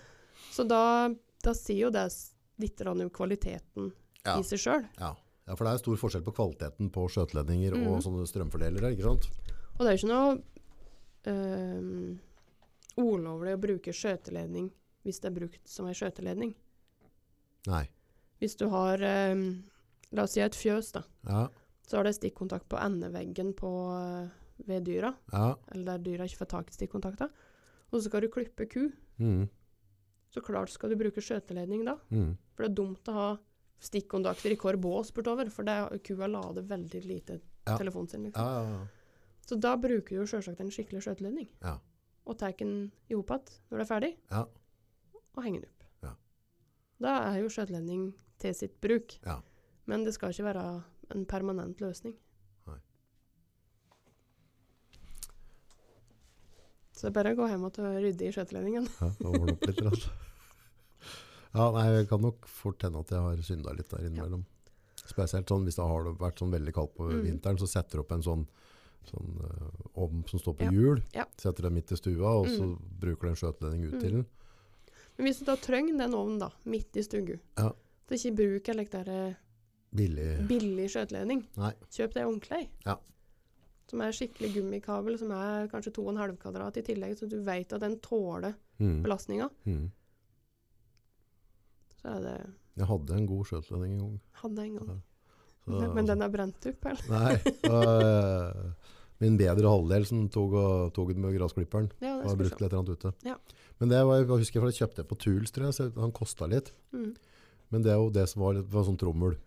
Så da, da sier jo det s- litt grann om kvaliteten Ja. i seg sjøl. Ja. Ja, for det er stor forskjell på kvaliteten på skjøteledninger og Mhm. sånne strømfordelere, ikke sant? Og det er jo ikke noe ehm, ulovlig å bruke skjøteledning hvis det er brukt som ei skjøteledning. Nei. Hvis du har ehm, La oss si et fjøs, da. Ja, Så har det stikkontakt på endeveggen på, eh, ved dyra, ja. eller der dyra ikke får tak i stikkontakta. Og så skal du klippe ku. Mm, Så klart skal du bruke skjøteledning da. mm. For det er dumt å ha stikkontakter i hver bås bortover, for det, kua lader veldig lite Ja. telefonen sin. Liksom. Ja, ja, ja. Så da bruker du jo sjølsagt en skikkelig skjøteledning. Ja. Og tar den i hop igjen når det er ferdig, Ja. og henger den opp. Ja. Da er jo skjøteledning til sitt bruk. Ja. Men det skal ikke være en permanent løsning. Nei. Så det er bare å gå hjem og ta- rydde i skjøteledningen. Ja, det var nok litt, altså. Ja, nei, jeg kan nok fort hende at jeg har synda litt der innimellom. Spesielt sånn, hvis det har vært sånn veldig kaldt på Mm. vinteren, så setter du opp en sånn, sånn eh, ovn som står på Ja. hjul. Ja. Setter den midt i stua, og så Mm. bruker du en skjøteledning ut Mm. til den. Men hvis du da trenger den ovnen da, midt i stugu, Ja. så ikke bruk en like der, eh, Billig. billig skjøteledning. Nei. Kjøp deg ordentlig. Ja. Som er skikkelig gummikabel, som er kanskje 2,5 kvadrat i tillegg, så du vet at den tåler Mm. belastninga. Mm. Så er det Jeg hadde en god skjøteledning en gang. Hadde en gang. Ja. Men, men den er brent opp, eller? Nei. og, eh, min bedre halvdel som tok, og, tok den med grasklipperen. Ja, Og det har spørs brukt om. litt eller annet ute. Ja. Men det var, jeg husker jeg, for jeg kjøpte det på Tools, tror jeg, så han kosta litt. Mm. Men det er jo det som var, var sånn trommel.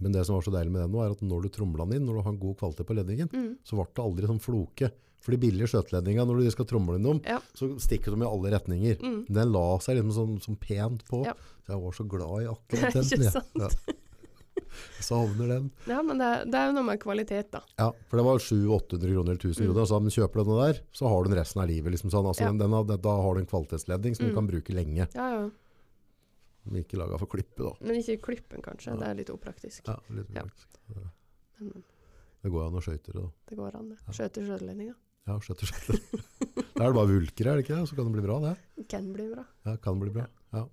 Men det som var så deilig med den nå, er at når du tromla den inn, når du har god kvalitet på ledningen, Mm. så ble det aldri sånn floke. For de billige skjøteledningene, når du skal tromle den om, Ja. så stikker de i alle retninger. Mm. Den la seg liksom sånn, sånn pent på. Ja. Så jeg var så glad i Det akkurat er den. ikke jeg. sant. Ja. Jeg savner den. Ja, men det er, det er jo noe med kvalitet, da. Ja, for det var 700-800 kroner eller 1000 Mm. kroner. Så, men kjøper du denne der, så har du den resten av livet. Liksom, sånn. altså, Ja. den, den, har- da har du en kvalitetsledning som Mm. du kan bruke lenge. Ja, ja. Men ikke laga for klippet, da. Men ikke klippen, kanskje. Ja. Det er litt upraktisk. Ja, litt Ja. praktisk. Men, men Det går jo an å skøyte det, da. det går an, det. Ja. Skjøter skjøteledninga. Ja, skjøtter, skjøtter. da er det bare vulker, er det ikke det? Så kan det bli bra, det. Kan bli bra. Ja, kan bli bra. Ja.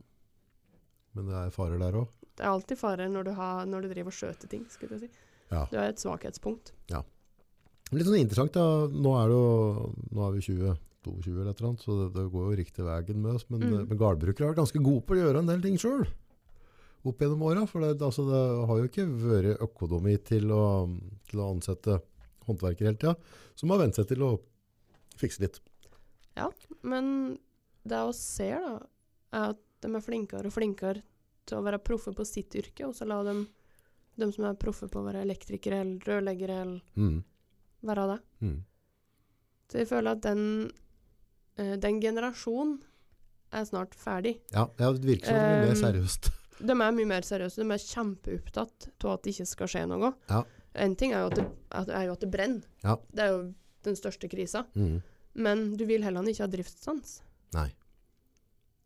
Men det er farer der òg. Det er alltid farer når du, har, når du driver og skjøter ting, skulle jeg si. Ja. Du har et svakhetspunkt. Litt sånn interessant, da. Nå er, det jo, nå er vi 20. 22 eller et eller annet, så det, det går jo riktig veien med oss. Men, Mm. men gardbrukere har vært ganske gode på å gjøre en del ting sjøl opp gjennom åra. For det, altså, det har jo ikke vært økonomi til å, til å ansette håndverkere hele tida, som har vent seg til å fikse litt. Men det vi ser, da, er at de er flinkere og flinkere til å være proffe på sitt yrke, og så la dem de som er proffe på å være elektrikere eller rørleggere eller Mm. være det. Mm. Så jeg føler at den, eh, den generasjonen er snart ferdig. Ja, ja, det virker som det blir mer Um, seriøst. De er mye mer seriøse. De er kjempeopptatt av at det ikke skal skje noe. Ja. En ting er jo at det, at, er jo at det brenner. Ja. Det er jo den største krisa. Mm. Men du vil heller ikke ha driftssans. Nei.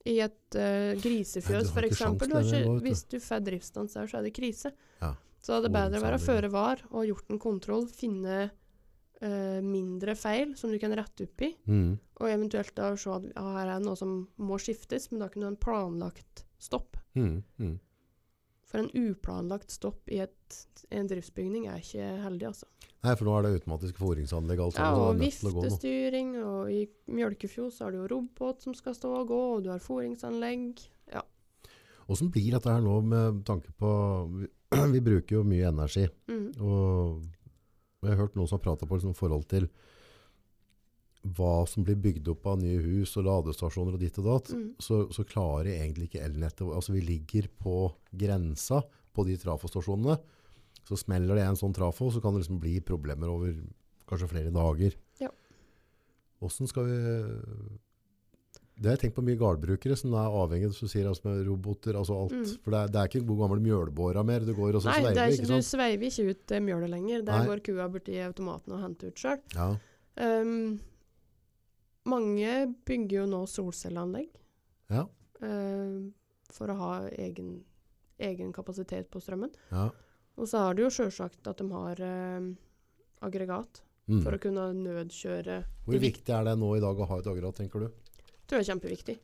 I et Nei, eh, du grisefjøs, har for ikke sjans eksempel. til Du har det ikke, nå, vet du. hvis du får driftsstans der, så er det krise. Ja. Så det er bedre å være Ordentlig. føre var og gjort en kontroll, finne eh, mindre feil som du kan rette opp i, Mm. og eventuelt da se at ja, her er det noe som må skiftes, men da kunne du ha en planlagt stopp. Mm. Mm. For en uplanlagt stopp i et, i en driftsbygning er ikke heldig, altså. Nei, for nå er det automatiske foringsanlegg. Alt Ja, sammen, så og det er nødt til å gå nå. viftestyring, og i Mjølkefjord så har du jo robot som skal stå og gå, og du har foringsanlegg. Hvordan blir dette her nå med tanke på Vi, vi bruker jo mye energi. Mm. Og jeg har hørt noen som har prata på liksom, forhold til hva som blir bygd opp av nye hus og ladestasjoner og ditt og datt. Mm. Så, så klarer egentlig ikke elnettet Altså, vi ligger på grensa på de trafostasjonene. Så smeller det en sånn trafo, så kan det liksom bli problemer over kanskje flere dager. Ja. Hvordan skal vi Det har jeg tenkt på mye gardbrukere som er avhengig som sier altså med roboter, altså alt. Mm. For det er, det er ikke god gammel mjølbåra mer. Det går og så Nei, det sveiver, er ikke ikke, du sant? sveiver ikke ut eh, mjølet lenger. Der Nei. går kua borti automaten og henter ut sjøl. Ja. Um, mange bygger jo nå solcelleanlegg Ja. um, for å ha egen, egen kapasitet på strømmen. ja. Og så er det jo sjølsagt at de har um, aggregat Mm. for å kunne nødkjøre. Hvor viktig er det nå i dag å ha et aggregat, tenker du? Mm. tror jeg er kjempeviktig.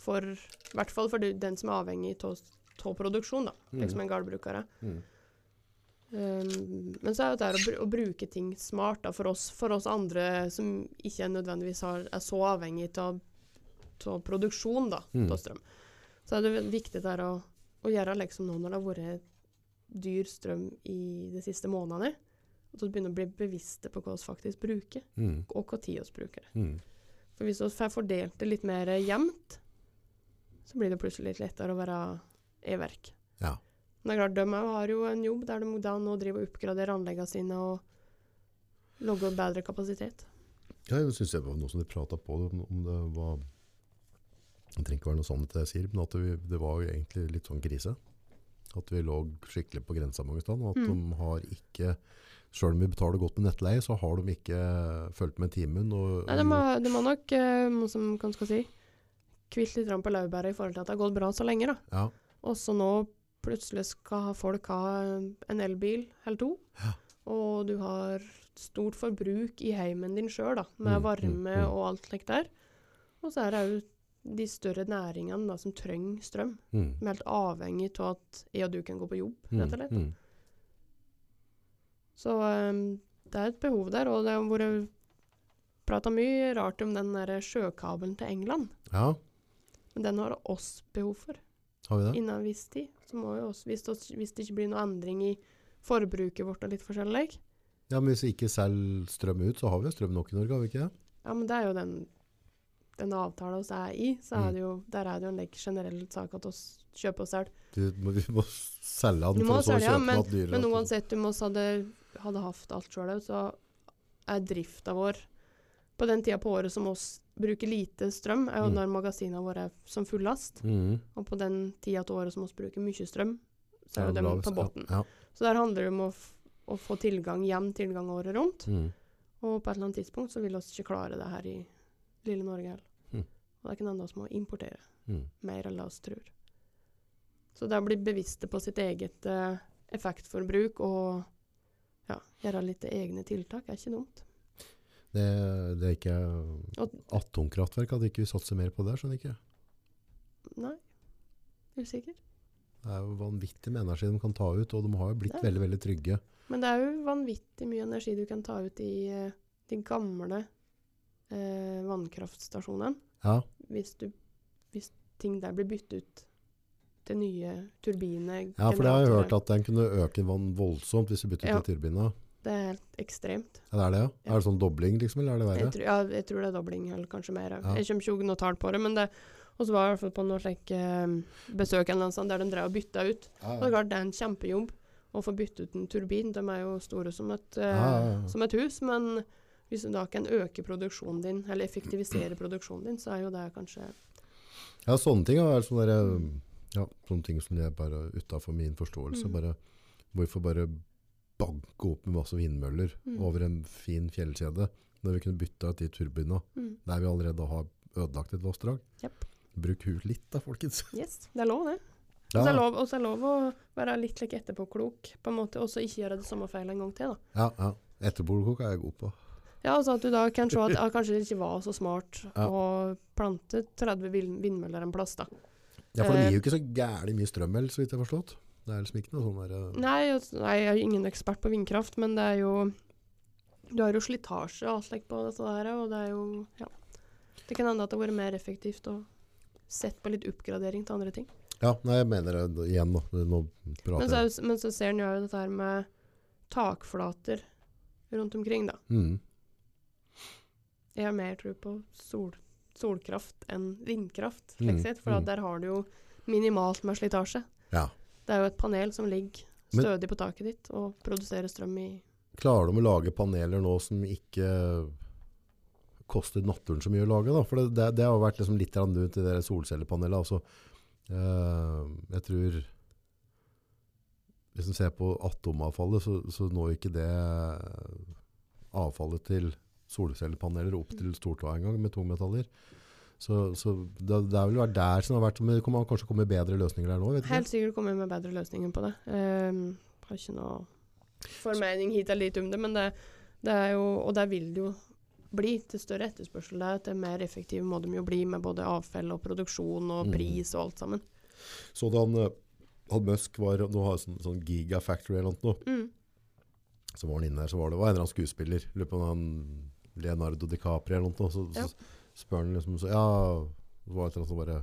For, I hvert fall for de- den som er avhengig av produksjon, da. Liksom en gardbruker er. Mm. Um, men så er jo det her å, br å bruke ting smart da, for, oss, for oss andre som ikke nødvendigvis har, er så avhengig av av produksjon da, Mm. av strøm. Så er det vel viktig det her å, å gjøre liksom nå når det har vært dyr strøm i de siste månedene, at vi begynner å bli bevisste på hva vi faktisk bruker, Mm. og hva tid vi bruker. Mm. For hvis vi får fordelt det litt mer eh, jevnt, så blir det plutselig litt lettere å være i verk. Ja. Men det er klart, de òg har jo en jobb der de da nå driver og oppgraderer anleggene sine og logger bedre kapasitet. Ja, jeg synes det var noe som de pratet på, om om det var, det trenger ikke være noe sånt jeg sier, men at vi, det var jo egentlig litt sånn krise. At vi lå skikkelig på grensa mange steder, og at Mm. de har ikke, selv om vi betaler godt med nettleie, så har de ikke følt med timen. Og, Nei, de har, de har nok, eh, noe som kan skal si, kvilt litt grann på laurbæret i forhold til at det har gått bra så lenge. da. Ja, Og så nå plutselig skal ha folk ha en elbil eller to, Ja. og du har stort forbruk i heimen din sjøl, med Mm, mm, varme mm. og alt slikt der. Og så er det òg de større næringene da, som trenger strøm. mm. De er helt avhengig av at jeg og du kan gå på jobb, rett og slett. Mm. Så ehm, det er et behov der, og det har vært prata mye rart om den der sjøkabelen til England. Ja, Men den har oss behov for har vi det? innen en viss tid. Så må jo oss, hvis, oss, hvis det ikke blir noe endring i forbruket vårt og litt forskjellig Ja, men hvis vi ikke selger strøm ut, så har vi jo strøm nok i Norge, har vi ikke det? Ja, men det er jo den, den avtalen oss er i. Så Mm. er det jo, der er det jo en like generell sak at oss kjøper og selger. Du, må, vi må selge Du den for å må så selge, ja, kjøpe noe dyrere. sånn. Men uansett om oss hadde, hadde haft alt sjøl òg, så er drifta vår på den tida på året som oss bruker lite strøm, er jo Mm. når magasinene våre er som fullast. Mm. Og på den tida til året som oss bruker mye strøm, så er Ja, det dem la på oss- båten. Ja, Så der handler det om å, f å få tilgang, jevn tilgang året rundt. ja. Mm. Og på et eller annet tidspunkt så vil vi ikke klare det her i lille Norge heller. Mm. Og det er ikke noe vi må importere Mm. mer enn det oss tror. Så det å bli bevisste på sitt eget eh, effektforbruk og ja, gjøre litt egne tiltak er ikke dumt. Det, det er ikke Og- Atomkraftverk hadde ikke vi satset mer på der, skjønner ikke. Nei, usikker. Det er jo vanvittig med energi de kan ta ut, og de har jo blitt Ja. veldig, veldig trygge. Men det er jo vanvittig mye energi du kan ta ut i eh, de gamle eh, vannkraftstasjonene, Ja, hvis, du, hvis ting der blir byttet ut til nye turbiner. ja for det har jeg generatorer. hørt at den kunne øke vann voldsomt hvis du byttet Ja. til turbina. Det er helt ekstremt. Ja, det er det, ja. Ja. Er det sånn dobling, liksom, eller er det Jeg verre? tror, ja, jeg tror det er dobling, eller kanskje mer. Ja. Jeg kommer ikke ihåg noe tall på det, men det og så var jeg i hvert fall på noe slik eh, besøk eller noe sånt, der de drev og bytta ut. Og det er Ja, klart, det er en kjempejobb å få byttet ut en turbin. De er jo store som et, eh, Ja, ja, ja. Som et hus, men hvis du da kan øke produksjonen din, eller Mm. effektivisere produksjonen din, så er jo det kanskje ja sånne ting. Ja, er sånne, der, ja, sånne ting som det er bare utenfor min forståelse. Mm. Bare, hvorfor bare banke opp med masse vindmøller Mm. over en fin fjellkjede, når vi kunne bytte ut de turbina mm, der vi allerede har ødelagt et vassdrag? Japp. Bruk huet litt da, folkens. Yes, det er lov, det. Og så er lov- og så er det lov å være litt like, etterpåklok, på en måte, og så ikke gjøre det samme feilet en gang til. da. Ja, ja. Etterbordkok er jeg god på. Ja, altså at du da kan se at ah, kanskje det ikke var så smart Ja. å plante 30 vil- vindmøller en plass, da. Ja, for Eh. det gir jo ikke så gærlig mye strøm, eller, så vidt jeg har forstått. Det er liksom ikke noe sånn der... eh, Nei, altså, nei, jeg er jo ingen ekspert på vindkraft, men det er jo Du har jo slitasje og alt slikt på dette der, og det er jo Ja. Det kan hende at det har vært mer effektivt å sett på litt oppgradering til andre ting. Ja, nei, jeg mener det igjen nå. Nå Men prater så, jeg. er jo- men så ser en jo dette her med takflater rundt omkring, da. Mm. Jeg har mer tro på sol, solkraft enn vindkraft, Mm, slik sett, for at mm. der har du jo minimalt med slitasje. Ja. Det er jo et panel som ligger Men- stødig på taket ditt og produserer strøm i Klarer de å lage paneler nå som ikke koster naturen så mye å lage, da? For det, det, det har jo vært liksom litt rann rundt i det der solcellepanelet. Altså, eh, jeg tror... Hvis man ser på atomavfallet, så, så når ikke det avfallet til solcellepaneler opp til stortå engang med tungmetaller. Så, så det, det er vel vært der som det har vært, men det kommer kanskje komme bedre løsninger der nå, vet du ikke? Helt sikkert kommer vi med bedre løsninger på det. Ehm, har ikke noe formening hit eller dit om det, men det, det er jo Og der vil det jo bli til større etterspørsel. Det er til mer effektive må de jo bli med både avfall og produksjon og Mhm. pris og alt sammen. Så da han eh, Og Musk var, nå har jeg sånn, sånn Gigafactory eller noe, Mm. så var han inne der, så var det var en eller annen skuespiller, lurer på om han Leonardo DiCaprio eller noe, så, Ja. så spør han liksom, så, ja, det var et eller annet som bare,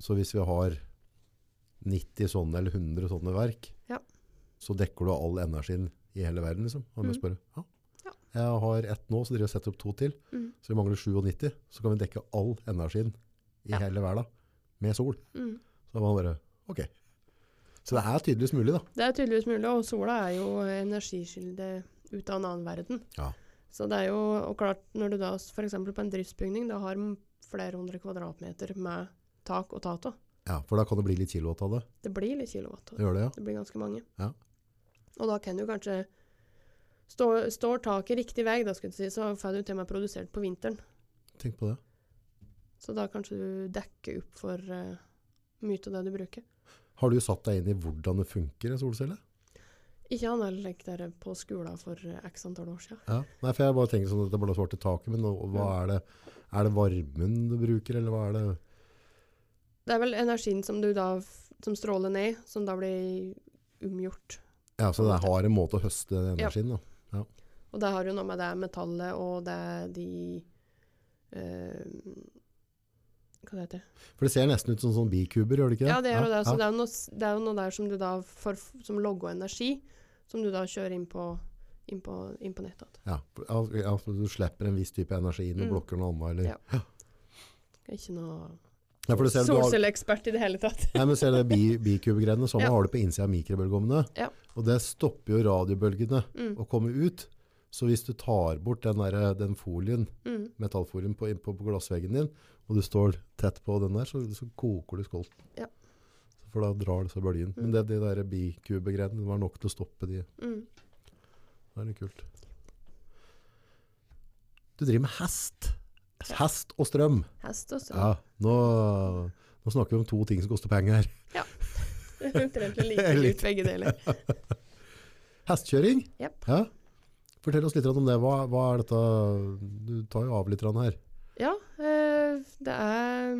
så hvis vi har 90 sånne eller 100 sånne verk, Ja. så dekker du all energien i hele verden, liksom. Og Musk bare, ja. Mm. Ja. Jeg har ett nå, så dere setter opp to til. Mm. Så vi mangler 97, så kan vi dekke all energien i Ja. hele verden med sol. Mm. Så da var han bare, ok. Så det er tydeligvis mulig da. Det er tydeligvis mulig, og sola er jo energikilde ut av en annen verden. Ja. Så det er jo, og klart, når du da f.eks. på en driftsbygning da har m- flere hundre kvadratmeter med tak og tato, Ja, for da kan det bli litt kilowatt av det. det blir litt kilowatt. Det gjør det, ja. Det blir ganske mange. Ja. Og da kan du kanskje stå, Står taket riktig vei, da, skulle du si, så får du til og med produsert på vinteren. Tenk på det. Så da kanskje du dekker opp for eh, mye av det du bruker. Har du satt deg inn i hvordan det funker en solcelle? Ikke han heller lekte der på skolen for eh, x antall år siden. Ja. Nei, for jeg bare tenker sånn at det bare svarte taket, men og- og hva er det? Er det varmen du bruker, eller hva er det? Det er vel energien som, du da, f- som stråler ned, som da blir omgjort. Ja, så det har en måte å høste den energien da. Og det har jo noe med det metallet og det de eh, Hva det heter For det ser nesten ut som sånn bikuber, gjør det ikke det? Ja, det er jo det. Så ja. det er jo noe, s- det er jo noe der som du da får f- som logg og energi, som du da kjører inn på, inn på, inn på nettet. Ja, for- ja, ja, for du slipper en viss type energi inn og Mm. blokker noe annet, eller? Ja. Jeg er Ikke noe Ja, for du ser, du har, solcelleekspert i det hele tatt. Nei, men ser du det bi- bikubegreiene, samme Ja. har du på innsida av mikrobølgeovnene. Ja. Og det stopper jo radiobølgene Mm, å komme ut. Så hvis du tar bort den, der, den folien, mm. metallfolien på, på, på glassveggen din, og du står tett på den der, så, så koker du skolten. Ja. For da drar det seg bølgen. Mm. Men det, de der bikubegreiene det var nok til å stoppe de. Mm. Det er litt kult. Du driver med hest. Hest og strøm. Hest også. Ja, nå, nå snakker vi om to ting som koster penger. Det er Omtrent like Litt. ut begge deler. Hestkjøring? Jepp. Ja. Fortell oss litt om det. Hva, hva er dette? Du tar jo av litt her. Ja, eh, det er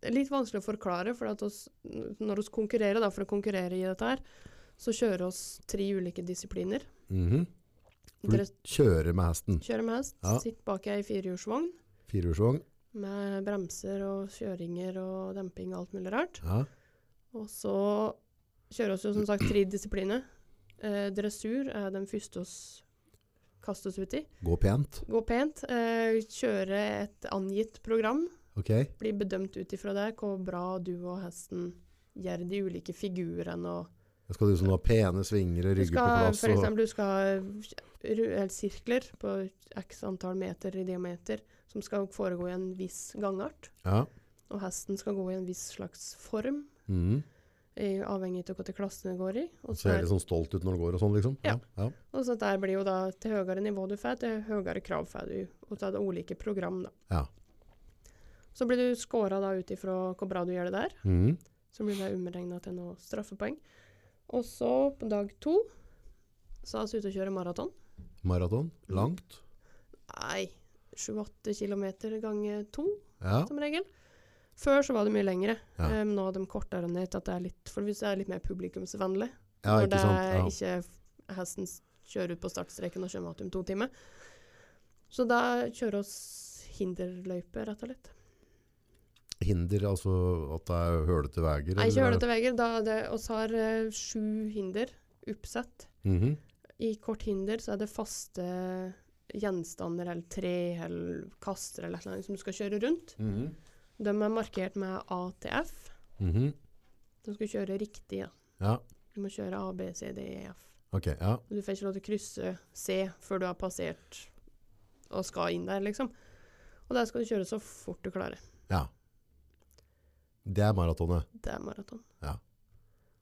det er litt vanskelig å forklare, for at oss, når vi konkurrerer, da, for å konkurrere i dette her, så kjører oss tre ulike disipliner. Mhm. For Dere du kjører med hesten. kjører med hest, Ja. sitter bak ei firehjulsvogn Firehjulsvogn. med bremser og kjøringer og demping og alt mulig rart. Ja. Og så kjører oss jo som sagt tre disipliner. Eh, dressur er den første oss kastes ut i. Gå pent. Gå pent. Eh, kjøre et angitt program. Ok. blir bedømt ut ifra det, hvor bra du og hesten gjør de ulike figurene. Og Det skal du som har pene svinger og du rygger på skal, plass. for Og, eksempel, du skal ha ru- eller sirkler på x antall meter i diameter som skal foregå i en viss gangart. ja. Og hesten skal gå i en viss slags form, Mhm. i- avhengig av hvilken klasse den går i. Og Og så ser er, litt sånn stolt ut når det går og sånn, liksom. Ja. ja. og så der blir jo da til høyere nivå du får, til høyere krav får du. Og så er det ulike program, da. Ja. Så blir du scora da ut ifra hvor bra du gjør det der. Mhm. Så blir det omregna til noe straffepoeng. Og så, på dag to, så er vi ute og kjører maraton. Maraton. Langt. Nei, 7-8 km ganger to, Ja. som regel. Før så var det mye lengre. Ja. Eh, nå har de kortere ned til at det er litt, for hvis det er litt mer publikumsvennlig. ja, når ikke det sant. er Ja. ikke f- hesten s- kjører ut på startstreken og kommer igjen om to timer. Så da kjører oss hinderløype, rett og slett. Hinder, altså at det er hølete veier? Nei, ikke eller- hølete veier. da det- oss har eh, sju hinder oppsett. Mhm. I kort hinder så er det faste gjenstander eller tre eller kaster eller noe som du skal kjøre rundt. Mhm. De er markert med ATF. Mhm. Du skal kjøre riktig. da. Ja, Du må kjøre A, B, C, D, E, F. ok. Ja. Og Du får ikke lov til å krysse C før du har passert og skal inn der, liksom. Og der skal du kjøre så fort du klarer. ja. Det er maratonet. Det er maraton. Ja.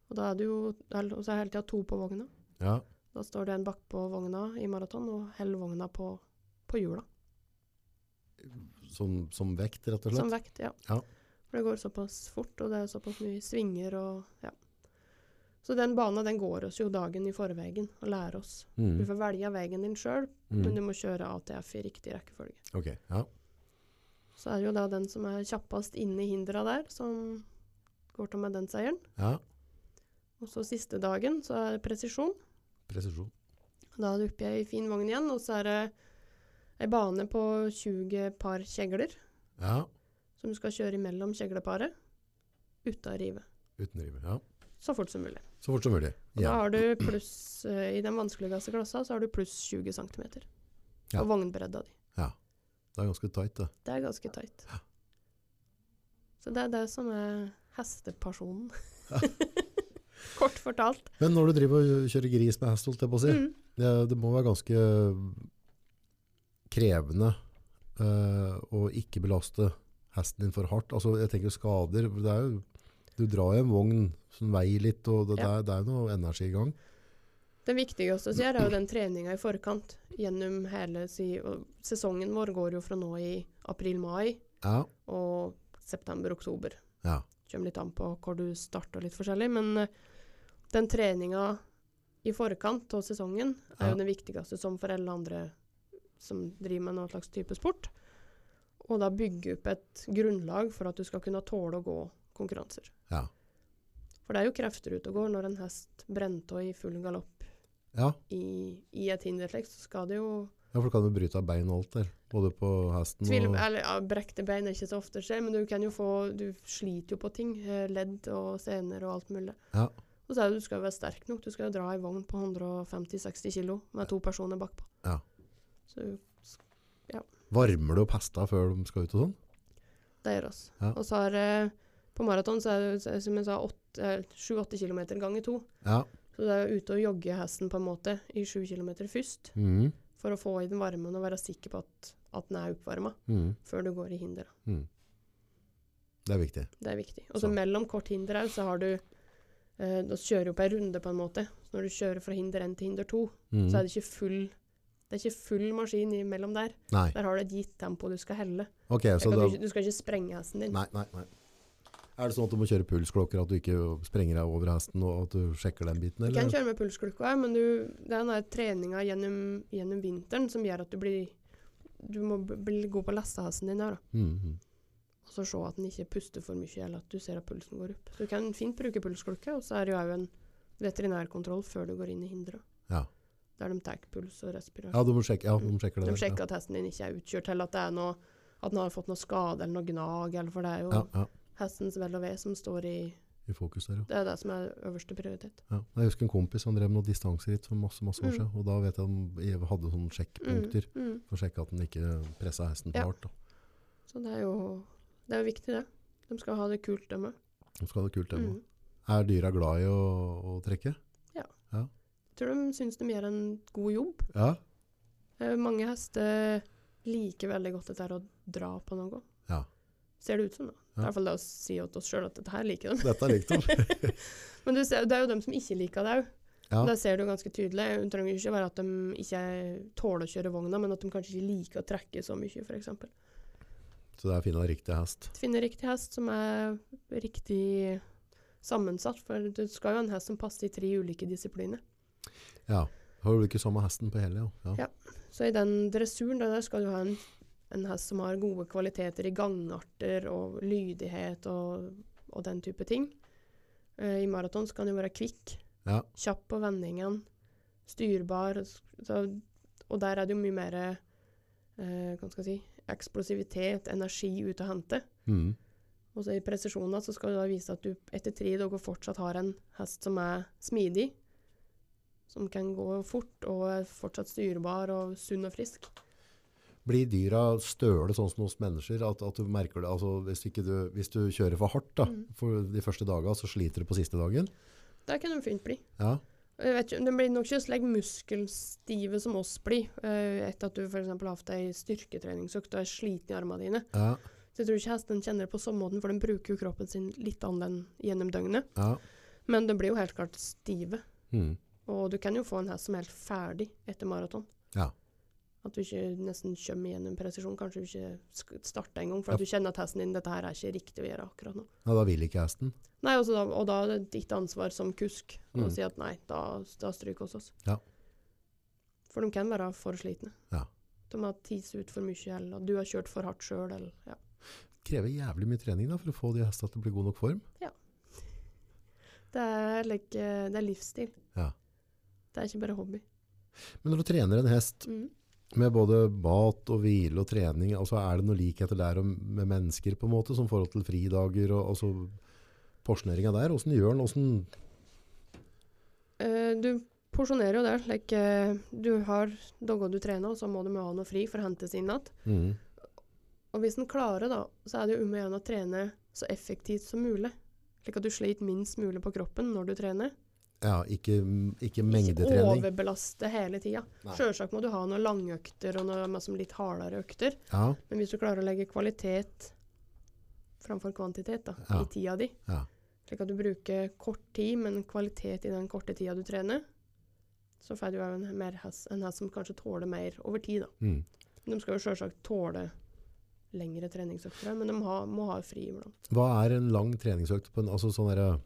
Og da er du jo eller- Og så er det hele tida to på vogna. Ja. Da står det en bakpå vogna i maraton og holder vogna på, på hjula. Som, som vekt, rett og slett. Som vekt, ja. Ja. For det går såpass fort, og det er såpass mye svinger og ja. Så den banen den går oss jo dagen i forveien og lærer oss. Du Mhm. får velge veien din sjøl, men Mhm. du må kjøre ATF i riktig rekkefølge. Ok, ja. Så er det jo da den som er kjappest inne i hindra der, som går av med den seieren. Ja, Og så siste dagen så er det presisjon. presisjon. Da er du oppe i ei fin vogn igjen, og så er det ei bane på 20 par kjegler Ja, som du skal kjøre imellom kjegleparet uten å rive. uten rive. Ja, Så fort som mulig. så fort som mulig. Og Da Ja. har du pluss, eh, I den vanskeligste klassa så har du pluss 20 cm. Ja. Og vognbredda di. Det er ganske tight det. Det er ganske tight. Så det er det som er hestepasjonen. Kort fortalt. Men når du driver og kjører gris med hest, holdt jeg på å si, Mm. det, det må være ganske krevende eh, å ikke belaste hesten din for hardt. Altså, jeg tenker skader, for det er jo, du drar jo en vogn som veier litt, og det, det, Ja. er, det er jo noe energi i gang. Det viktigste vi gjør, er jo den treninga i forkant. Gjennom hele si, og sesongen vår går jo fra nå i april-mai Ja, og september-oktober. ja, Kommer litt an på hvor du starter, litt forskjellig. Men eh, den treninga i forkant av sesongen er Ja. jo den viktigste som for alle andre som driver med noen slags type sport. Og da bygge opp et grunnlag for at du skal kunne tåle å gå konkurranser. ja. For det er jo krefter ute og går når en hest brenner av i full galopp Ja, i, i et hinderslekt, så skal det jo ja for du kan jo bryte av bein og alt der, både på hesten tvil, og... eller, ja, Brekte bein er ikke så ofte skjer, men du kan jo få Du sliter jo på ting. eh, Ledd og sener og alt mulig. Ja. Og så er det, du skal jo være sterk nok. Du skal jo dra ei vogn på 150-60 kilo med to personer bakpå. Ja. Så Varmer du opp hesta før de skal ut og sånn? det gjør oss. Ja. Og så er det På maraton så er det jo, som jeg sa, åtte- eh, sju-åtte kilometer ganger to. Ja. Så det er jo ute og jogge hesten på en måte i sju kilometer først, Mhm, for å få i den varmen og være sikker på at, at den er oppvarma mhm, før du går i hinder. mhm. Det er viktig. Det er viktig. Og så Sant. mellom kort hinder òg, så har du eh, Da kjører du på ei runde, på en måte. Så når du kjører fra hinder én til hinder to, Mhm. så er det ikke full det er ikke full maskin imellom der. Nei, Der har du et gitt tempo du skal helle. ok, Jeg så det... Kan, du, ikke- du skal ikke sprenge hesten din. Nei, nei, nei. Er det sånn at du må kjøre pulsklokker, at du ikke sprenger deg over hesten, og at du sjekker den biten, Du kan eller? kjøre med pulsklokka, men du, det er den der treninga gjennom, gjennom vinteren som gjør at du blir Du må b- bli god på å lese hesten din her, da. Mhm, Og så Altså se at den ikke puster for mye, eller at du ser at pulsen går opp. Så du kan fint bruke pulsklokke, og så er det jo òg en veterinærkontroll før du går inn i hinderet. Ja. Der de tar puls og respirasjon. Ja, du må sjekke, ja, de sjekker det. De der, sjekker at hesten din ikke er utkjørt, eller at, det er noe, at den har fått noe skade eller noe gnag. Eller for det er jo Ja, ja, hestens vel og ve som står i i fokus der, ja. Det er det som er øverste prioritet. Ja. Jeg husker en kompis som drev med noe distanseritt for masse, masse år Mm. siden, og da vet jeg at de hadde sånne sjekkpunkter Mm. for å sjekke at den ikke presset hesten for Ja. hardt. da. Så det er jo det er jo viktig, det. De skal ha det kult, dem òg. De skal ha det kult det. Mm. Er dyra glad i å, å trekke? Tror de syns de gjør en god jobb. Ja. Eh, Mange hester liker veldig godt dette her å dra på noe. Ja. Ser det ut som, da. Det Ja. er i hvert fall det å si til oss sjøl at dette her liker de. Dette er likt om. Men du ser, det er jo dem som ikke liker det òg. Ja. Det ser du ganske tydelig. Det trenger jo ikke være at de ikke tåler å kjøre vogna, men at de kanskje ikke liker å trekke så mye, f.eks. Så det er å finne en riktig hest. Finne riktig hest som er riktig sammensatt, for du skal jo ha en hest som passer i tre ulike disipliner. Ja. Har du ikke samme hesten på hele, ja. Ja. Så i den dressuren da, der skal du ha en, en hest som har gode kvaliteter i gangarter og lydighet og, og den type ting. Eh, I maraton skal den jo være kvikk. Ja. kjapp på vendingen, styrbar. Så, og der er det jo mye mer eh, hva skal jeg si, eksplosivitet, energi ute å hente. Mhm. Og så I presisjonen så skal du da vise at du etter tre dager fortsatt har en hest som er smidig, som kan gå fort og er fortsatt styrbar og sunn og frisk. Blir dyra støle sånn som hos mennesker? At, at du merker det, altså hvis, ikke du, hvis du kjører for hardt da, Mhm. for de første dagene, så sliter du på siste dagen? Der kan de fint bli. Ja, Jeg vet ikke, De blir nok ikke slik muskelstive som oss blir, eh, etter at du f.eks. har hatt ei styrketreningsøkt og er sliten i armene dine. ja, Så jeg tror ikke hesten kjenner det på samme måten, for den bruker jo kroppen sin litt annerledes gjennom døgnet. ja. Men den blir jo helt klart stive. Mhm. Og du kan jo få en hest som er helt ferdig etter maraton. Ja. At du ikke nesten kommer gjennom presisjon. Kanskje du ikke sk- starter engang, for at du kjenner at hesten din dette her er ikke riktig å gjøre akkurat nå. Nei, da vil ikke hesten. Nei, også da, Og da er det ditt ansvar som kusk å Mm. si at nei, da, da stryker hos oss. Ja. For de kan være for slitne. Ja. De har tise ut for mye, eller du har kjørt for hardt sjøl, eller ja. Krever jævlig mye trening da, for å få de hestene til å bli god nok form. Det er, like, det er livsstil. Ja. Det er ikke bare hobby. Men når du trener en hest Mm. med både mat og hvile og trening, altså er det noen likheter der om- med mennesker på en måte, som forhold til fridager og altså porsjoneringen der? Hvordan gjør den? Hvordan, Eh, du porsjonerer jo det. Like, eh, du har dager du trener, og så må du ha noe fri for å hentes inn igjen. mm, Og hvis en klarer, da, så er det jo om å gjøre å trene så effektivt som mulig. Slik at du sliter minst mulig på kroppen når du trener. ja, ikke, ikke Ikke mengdetrening. overbelaste hele tida. Nei. Sjølsagt må du ha noen langøkter og noe med som litt hardere økter. Ja, Men hvis du klarer å legge kvalitet framfor kvantitet da, Ja. i tida di, Ja. slik at du bruker kort tid, men kvalitet i den korte tida du trener, så får du jo en, mer hest, en hest som kanskje tåler mer over tid. Da. mm. De skal jo sjølsagt tåle lengre treningsøkter, men de ha, må ha fri iblant. Hva er en lang treningsøkt på en, altså sånn der,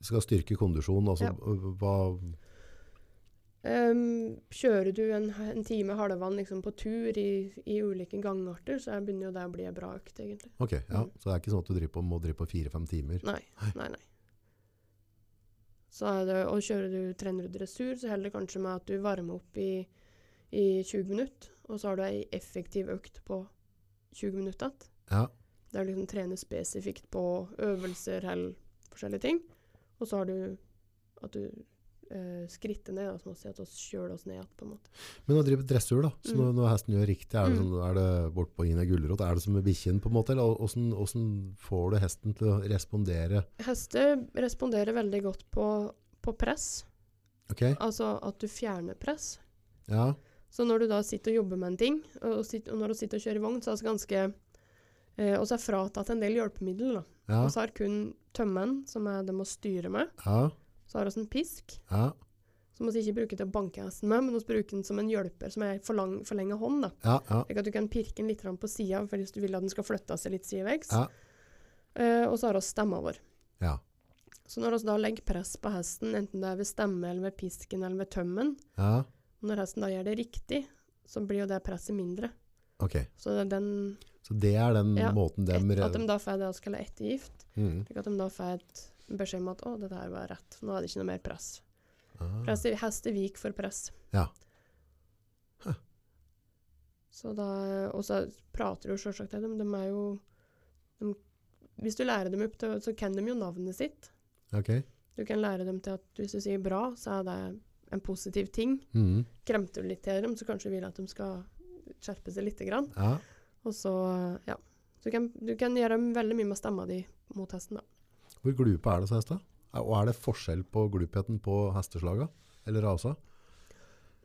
vi skal styrke kondisjon, altså Ja. hva, Ehm, kjører du en, en time halvann liksom, på tur i, i ulike gangarter, så er- begynner jo det å bli ei bra økt, egentlig. ok, ja, Mm. så det er ikke sånn at du driver på, må drive på 4-5 timer. Nei, nei, nei. Så er det, og kjører du, trener du dressur, så heller det kanskje med at du varmer opp i, i 20 minutter, og så har du ei effektiv økt på 20 minutter igjen. Ja, Der du liksom trener spesifikt på øvelser eller forskjellige ting. Og så har du at du eh, skritter ned, da, som å si at vi kjøler oss ned igjen, på en måte. men å drive dressur da, så når, når hesten gjør riktig, er det, Mm. sånn, er det bort på Ine Gullerot, er det som med bikkjen på en måte, eller hvordan, hvordan får du hesten til å respondere? Hester responderer veldig godt på, på press, Ok, altså at du fjerner press. ja, Så når du da sitter og jobber med en ting, og, sitt- og når du sitter og kjører vogn, så er det ganske eh, Og så er fratatt en del hjelpemidler, da. ja, Og så har kun tømmen, som er det må styre med. ja, Så har vi en pisk, ja, som vi ikke bruker til å banke hesten med, men vi bruker den som en hjelper, som er ei forlang- forlenga hånd, da. ja, ja, Slik at du kan pirke den litt grann på sida hvis du vil at den skal flytte seg litt sidevegs. Ja. Eh, og så har vi stemma vår. ja, Så når vi da legger press på hesten, enten det er ved stemme, eller ved pisken eller ved tømmen, ja, når hesten da gjør det riktig, så blir jo det presset mindre. ok. Så det er den, Så det er den Ja, måten de... et, at de da får det vi kaller ettergift, Mm. slik at de da får et beskjed om at å, dette her var rett, nå er det ikke noe mer press. Ah. press i- hester viker for press. Ja. Hæ. Så da, og så prater du jo selvsagt til dem, de er jo, de, hvis du lærer dem opp, til, så kan de jo navnet sitt. Ok, Du kan lære dem til at hvis du sier bra, så er det en positiv ting. mm. kremter du litt til dem, så kanskje du vil at de skal skjerpe seg litt. Grann. ja, Og så, ja. Så du kan, du kan gjøre veldig mye med stemma di mot hesten. da. Hvor glupe er det så hester? Er- Og er det forskjell på glupheten på hesteslaga? Eller rasa?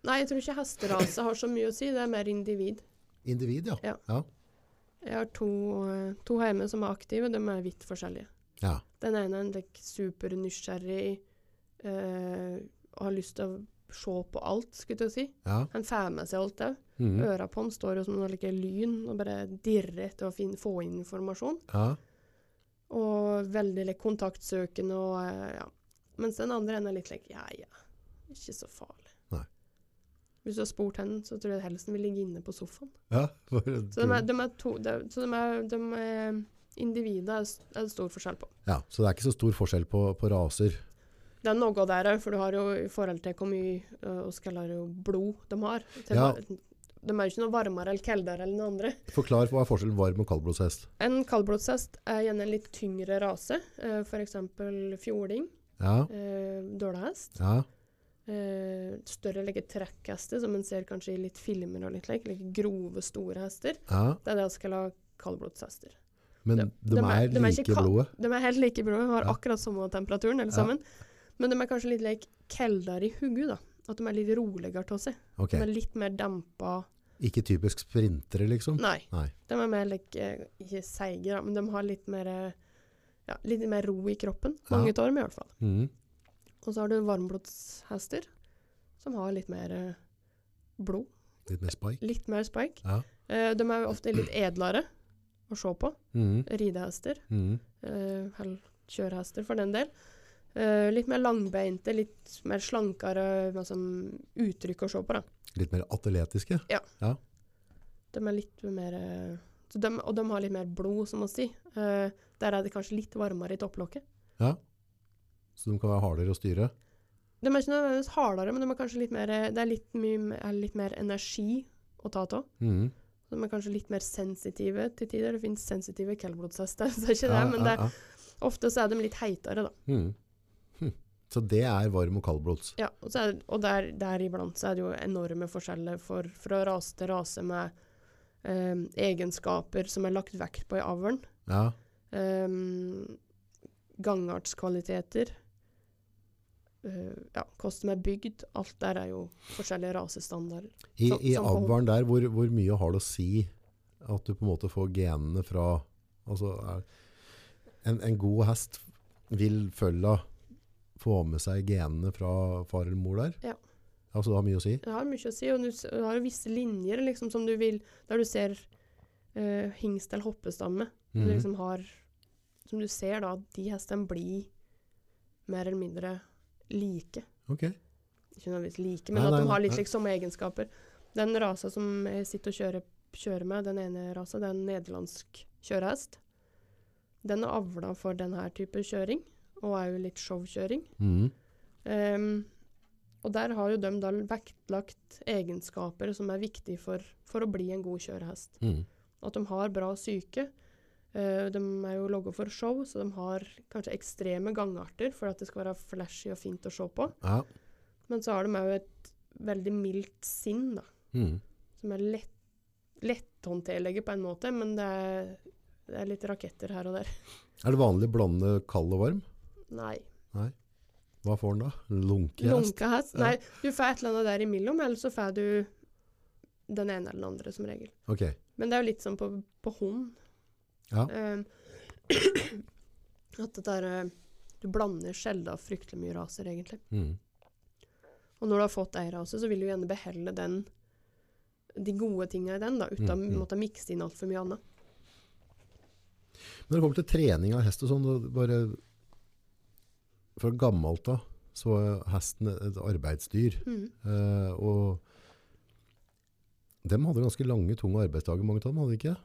Nei, jeg tror ikke hesterase har så mye å si, det er mer individ. Individ, ja. Ja. Ja. Jeg har to, eh, to hjemme som er aktive, de er vidt forskjellige. Ja. Den ene er en like, supernysgjerrig eh, og har lyst til å se på alt, skulle jeg si. ja. Han får med seg alt òg. Mhm. Øra på han står jo som noe like lyn og bare dirrer etter å fin- få inn informasjon. ja. Og veldig litt kontaktsøkende og eh, ja. Mens den andre enden er litt like, ja ja, ikke så farlig. Nei. Hvis du har spurt henne, så tror jeg helst den vil ligge inne på sofaen. Ja, for en Så de er, kul. de er to, de, så de er, de er individet er s- er det stor forskjell på. ja, så det er ikke så stor forskjell på, på raser. Det er noe der òg, for du har jo i forhold til hvor mye eh, oss kaller det jo blod de har. Til Ja. hva- De er jo ikke noe varmere eller kaldere enn den andre. Forklar hva er forskjellen varm og kaldblodshest. En kaldblodshest er gjerne en litt tyngre rase, eh, for f.eks. fjording, Ja, eh, dølahest. ja, Eh, større like, trekkhester, som en ser kanskje i litt filmer og litt like, like grove, store hester. ja. Det er det vi kaller kaldblodshester. Men De- de, de er- er, de er ikke like i kal- blodet. De er helt like blå, har Ja. akkurat samme temperaturen alle Ja. sammen. Men de er kanskje litt like kaldere i hodet, da. At de er litt roligere av seg. Ok, De er litt mer dempa. ikke typisk sprintere liksom. Nei. Nei. De er mer like, eh, ikke seige, da, men de har litt mer, eh, ja, litt mer ro i kroppen. Ja. Mange av dem, i hvert fall. Mhm. Og så har du varmblodshester, som har litt mer eh, blod. Litt mer spike. Litt mer spike. Ja. Eh, de er jo ofte litt edlere å se på. Mhm. Ridehester, Mhm. eh, eller kjørehester for den del. Eh, litt mer langbeinte, litt mer slankere med sånn uttrykk å se på. Da. Litt mer atletiske. De er litt mer eh, så de, Og de har litt mer blod, som man sier. Eh, der er det kanskje litt varmere i topplokket. Ja. så de kan være hardere å styre. De er ikke nødvendigvis hardere, men de er kanskje litt mer, eh, det er litt, mye, er litt mer energi å ta av. Mhm. De er kanskje litt mer sensitive til tider. Det finnes sensitive kelblodshester, så det er ikke det. Ja, Men det, ja, ja. er- ofte så er de litt heitere, da. Mhm. Hm. Så det er varm og kaldblods. Ja, og, så er, og der, der iblant så er det jo enorme forskjeller for, fra rase til rase med ehm, egenskaper som er lagt vekt på i avlen. Ja. Ehm, gangartskvaliteter. eh, ja, kost som er bygd. Alt der er jo forskjellige rasestandarder. I, Som- i som på avlen der, hvor, hvor mye har det å si at du på en måte får genene fra altså er, en, en god hest vil følge få med seg genene fra far eller mor der? Ja. Altså det har mye å si? Det har mye å si, og du s- du har jo visse linjer liksom, som du vil, der du ser eh, hingst eller hoppestamme. som Mhm. Du liksom har, som du ser da, at de hestene blir mer eller mindre like. Ok. ikke nødvendigvis like, Nei, men at nei, de har litt nei. like samme egenskaper. Den rasa som jeg sitter og kjører, kjører med, den ene rasa, det er en nederlandsk kjørehest. Den er avla for denne type kjøring, og er jo litt showkjøring. Mhm. Ehm, og der har jo de da vektlagt egenskaper som er viktige for, for å bli en god kjørehest. Mhm. At de har bra psyke. Eh, de er jo logga for show, så de har kanskje ekstreme gangarter for at det skal være flashy og fint å se på. Ja. Men så har de òg et veldig mildt sinn, da. Mhm. Som er lett, letthåndterlige på en måte, men det er, det er litt raketter her og der. Er det vanlig å blande kald og varm? Nei. Hva får den da? Lunke hest? Lunka hest? Ja. Nei, du får et eller annet der imellom, eller så får du den ene eller den andre, som regel. Ok. Men det er jo litt sånn på, på hund. Ja. Ehm, at det der eh, Du blander sjelden fryktelig mye raser, egentlig. Mhm. Og når du har fått ei rase, så vil du gjerne beholde den de gode tinga i den, da, uten å Mm, mm. måtte mikse inn altfor mye annet. Når det kommer til trening av hest og sånn, da bare fra gammelt da, så er hesten et arbeidsdyr. Mm. Eh, og de hadde ganske lange, tunge arbeidsdager, mange av dem hadde de ikke det?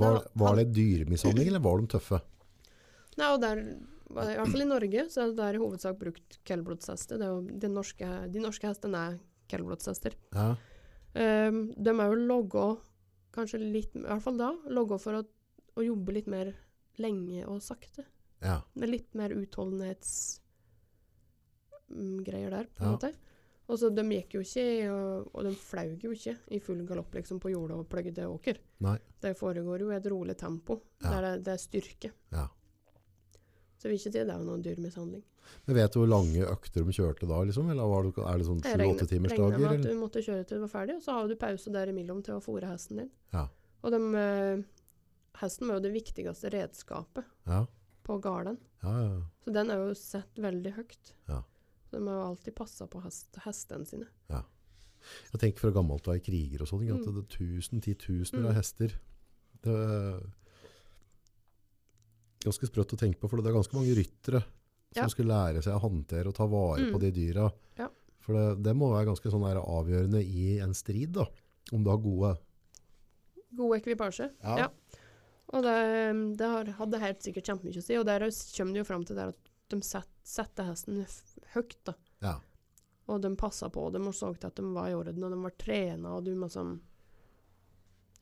Var, Nei, var han- det dyremishandling, eller var de tøffe? Nei, og der, i hvert fall i Norge, så er det der i hovedsak brukt kelblodshester. Det er jo de norske, de norske hestene er kelblodshester. Ja. Ehm, de er jo logga, kanskje litt, i hvert fall da, logga for å, å jobbe litt mer lenge og sakte. ja. Med litt mer utholdenhetsgreier der, på en Ja. måte. Og så de gikk jo ikke, i, og, og de flaug jo ikke i full galopp liksom på jorda og pløgde åker. Nei. Det foregår jo i et rolig tempo, Ja. der det, det er styrke. Ja. Så jeg vil ikke si det er noen dyremishandling. Men vet du hvor lange økter de kjørte da, liksom? Eller var det, er det sånn Jeg regner- 7-8 timers dager? Regner med eller? at du måtte kjøre til du var ferdig, og så har du pause derimellom til å fôre hesten din. Ja. Og dem, eh, hesten var jo det viktigste redskapet Ja. på gården, Ja, ja, ja. så den er jo sett veldig høyt. Ja. Så de har jo alltid passa på hest, hestene sine. Jeg tenker fra gammelt av i kriger og sånn, ikke? at Mm. det er tusen, titusener Mm. av hester. Det er ganske sprøtt å tenke på, for det er ganske mange ryttere som Ja. skulle lære seg å håndtere og ta vare på Mm. de dyra. Ja. For det, det må være ganske sånn der avgjørende i en strid, da. om du har gode... God ekvipasje. Ja. Og det, det har, hadde helt sikkert kjempemye å si, og der kommer det jo fram til der at de set, setter hesten f- høyt, da. Ja. Og de passa på dem og så til at de var i orden, og de var trena, og du må sånn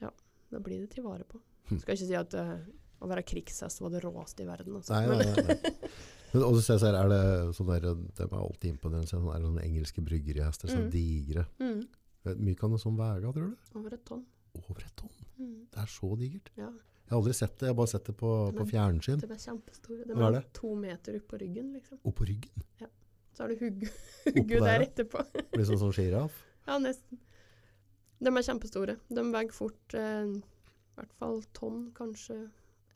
Ja, da blir det til vare på. Hm. Skal ikke si at eh, å være krigshest var det råeste i verden, altså. Nei, Men nei, nei. nei. Men også ser jeg så her, er det sånn der, det er alltid imponerende, å se sånne, der, sånne engelske bryggerihester, sånne Mm. digre. mm, Vet- Mye kan det sånn vega, tror du? over et tonn. Over et tonn. Mm, Det er så digert. ja. Jeg har aldri sett det, jeg har bare sett det på, på fjernsyn. De er kjempestore. De Hva er er det? to meter opp på ryggen, liksom. Og på ryggen. Så har du hugge hugge der, der ja. etterpå. Blir sånn som giraff. Ja, nesten. De er kjempestore. De veier fort eh, i hvert fall tonn, kanskje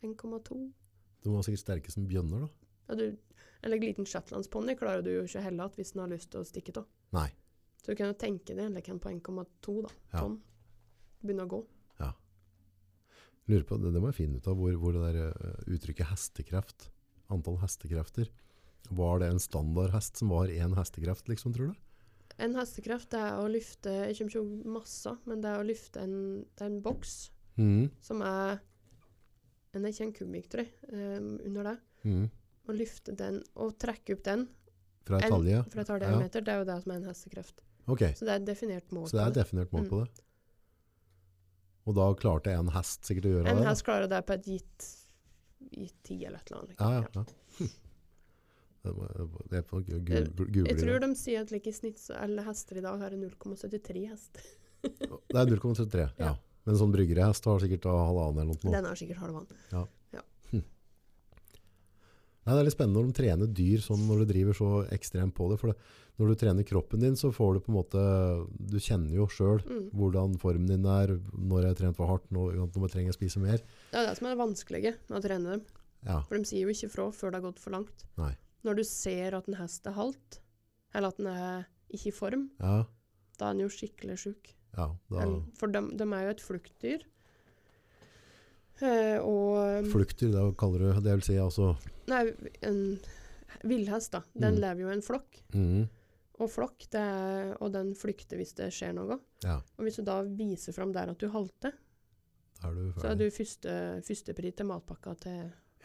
1,2. De var sikkert sterke som bjønner, da. Ja, du, eller en liten shetlandsponni klarer du jo ikke å helle at hvis den har lyst til å stikke av. Nei. Så du kan jo tenke deg en leken på 1,2 da, Ja. tonn. Begynne å gå. Lurer på, det, det må jeg finne ut av, hvor, hvor det der eh, uttrykket hestekreft, antall hestekrefter, var det en standardhest som var én hestekreft, liksom, tror du? En hestekraft det er å løfte Jeg kommer ikke på massa, men det er å løfte en, det er en boks Mm. som er en, Ikke en kubikk, tror jeg, eh, under det. Mm. Å løfte den og trekke opp den Fra et en- talje? fra et halvt Ja. meter, det er jo det som er en hestekreft. Ok, Så det er et definert mål. så det er på et definert mål Mm. på det. Og da klarte en hest sikkert å gjøre En det? da. hest klarer det på et gitt, gitt tid eller et eller annet. liksom. Ja, ja. Ja. ja. Det må- Det er på gu- Jeg- gu- google Jeg tror det. de sier at like i snitt så alle hester i dag har en 0,73 hest. Det er 0,73, ja. Ja. Men en sånn bryggerhest har sikkert da halvannen eller noe. Den har sikkert halvannen. Nei, det er litt spennende når de trener dyr sånn når du driver så ekstremt på det. For det, når du trener kroppen din, så får du på en måte Du kjenner jo sjøl Mm. hvordan formen din er, når jeg har trent for hardt, når, når jeg trenger å spise mer. Det er det som er det vanskelige med å trene dem. Ja, For de sier jo ikke fra før det har gått for langt. Nei. Når du ser at en hest er halt, eller at den er ikke i form, ja, da er den jo skikkelig sjuk. ja. Da, Eller- For de, er jo et fluktdyr. Eh, og flukter, det kaller du Det vil si altså Nei, en villhest, da. Den Mm. lever jo i en flokk. mhm, Og flokk, det er, og den flykter hvis det skjer noe. Ja, Og hvis du da viser fram der at du halter, da er du ferdig. så er du første, førstepri til matpakka til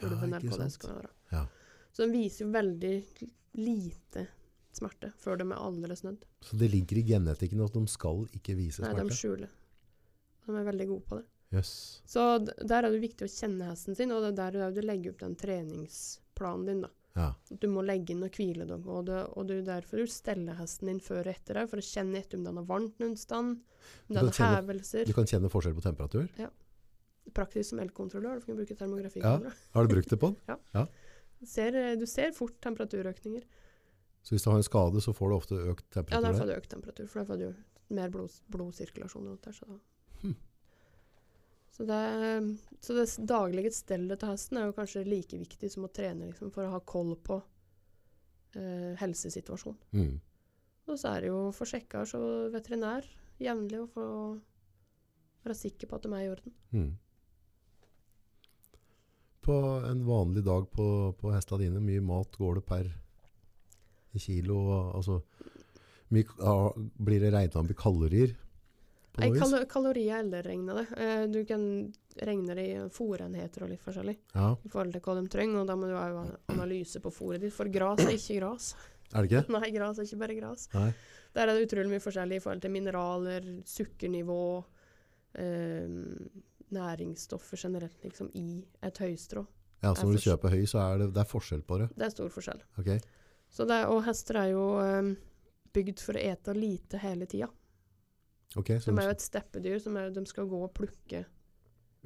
Ja, ulven eller ikke hva sant. det skal være. Ja. Så den viser jo veldig lite smerte før de er aldeles nødt. Så det ligger i genetikken at de skal ikke vise Nei, de smerte? skjuler. De er veldig gode på det. Jøss. Så d- der er det viktig å kjenne hesten sin, og det er der du legger opp den treningsplanen din, da. Ja. Du må legge inn og hvile deg, og, det, og det er derfor du steller hesten din før og etter deg, for å kjenne etter om den har varmt noen sted, Du om den kan har kjenne- hevelser. Du kan kjenne forskjell på temperatur? Praktisk som elkontrollør, du kan bruke termografi. Ja. Har du brukt det på den? Du, ser, eh, du ser fort temperaturøkninger. Så hvis du har en skade, så får du ofte økt Ja, der temperatur? der. får du økt temperatur, for der får du mer blod, blodsirkulasjon rundt der. Så, da. Hmm. så, det, eh, så det s- daglige stellet til hesten er jo kanskje like viktig som å trene liksom, for å ha koll på eh, helsesituasjonen. Mm. Og så er det jo å få sjekka så veterinær jevnlig og få være sikker på at de er i orden. Mm. På en vanlig dag på, på hesta dine, mye mat går det per kilo? og- Altså, mye, k- ah, blir det regnet med kalorier? På Nei, noe vis? kalo kalorier er eldreregnede. Eh, du kan regne det i fôrenheter og litt forskjellig Ja, i forhold til hva de trenger, og da må du ha en analyse på fôret ditt, for gras er ikke gras. er det ikke? Nei, gras er ikke bare gras. Nei. Der er det utrolig mye forskjellig i forhold til mineraler, sukkernivå, eh, næringsstoffer generelt, liksom, i et høystrå. Ja, så når du Jeg kjøper høy, så er det, det er forskjell på det. Det er stor forskjell. Ok, Så det, er- og hester er jo eh, bygd for å ete lite hele tida. ok, så De er jo et steppedyr, som er, de skal gå og plukke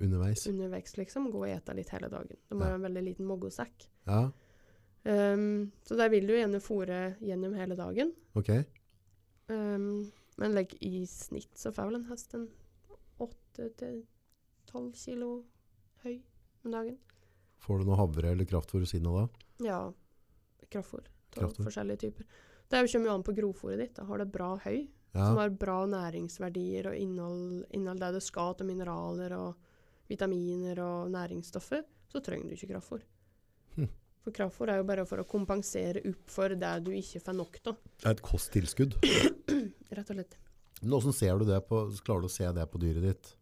underveis. undervekst, liksom. Gå og ete litt hele dagen. De har Ja. jo en veldig liten moggosekk. Ja, Um, så der vil du gjerne fôre gjennom hele dagen. ok. Um, men legg i snitt så får vel en hest en 8-12 kilo høy om dagen. Får du noe havre eller kraftfôr ved siden av da? Ja, kraftfôr. av Kraftfôr. Forskjellige typer. Det er jo- kommer jo an på grovfôret ditt. Da har det bra høy, Ja, som har bra næringsverdier og innhold, innhold der det skal til mineraler og vitaminer og næringsstoffer, så trenger du ikke kraftfôr. Hm. For kraftfôr er jo bare for å kompensere opp for det du ikke får nok av, det er et kosttilskudd. rett og slett. Men hvordan ser du det på, klarer du å se det på dyret ditt?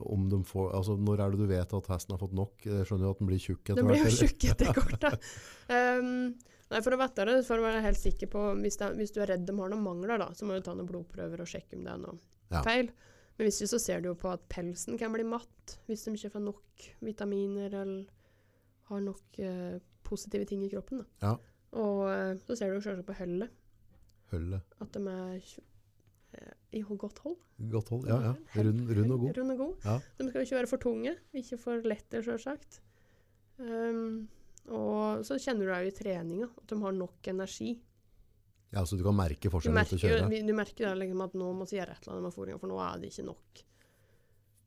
Om de får, altså når er det du vet at hesten har fått nok? Jeg skjønner jo at den blir tjukk etter Den blir jo eller? tjukk etter hvert, da. Ehm, nei, for å vite det, for å være helt sikker på hvis, det, er- hvis du er redd de har noen mangler, da, så må du ta noen blodprøver og sjekke om det er noe Ja. feil. Men hvis ikke så ser du jo på at pelsen kan bli matt hvis de ikke får nok vitaminer eller har nok eh, positive ting i kroppen. Da. Ja. Og eh, så ser du jo selvsagt på hølet, Hølle. at de er tj- eh, i godt hold. Godt hold, ja, ja. Rund, rund og god. Rund og god. Ja. De skal jo ikke være for tunge, ikke for lette, sjølsagt. Um, og så kjenner du deg jo i treninga, at de har nok energi. Ja, så du kan merke Du forskjellen etter å merker, jo- kjøre. vi- du merker da liksom at nå må vi gjøre et eller annet med fôringa, for nå er det ikke nok.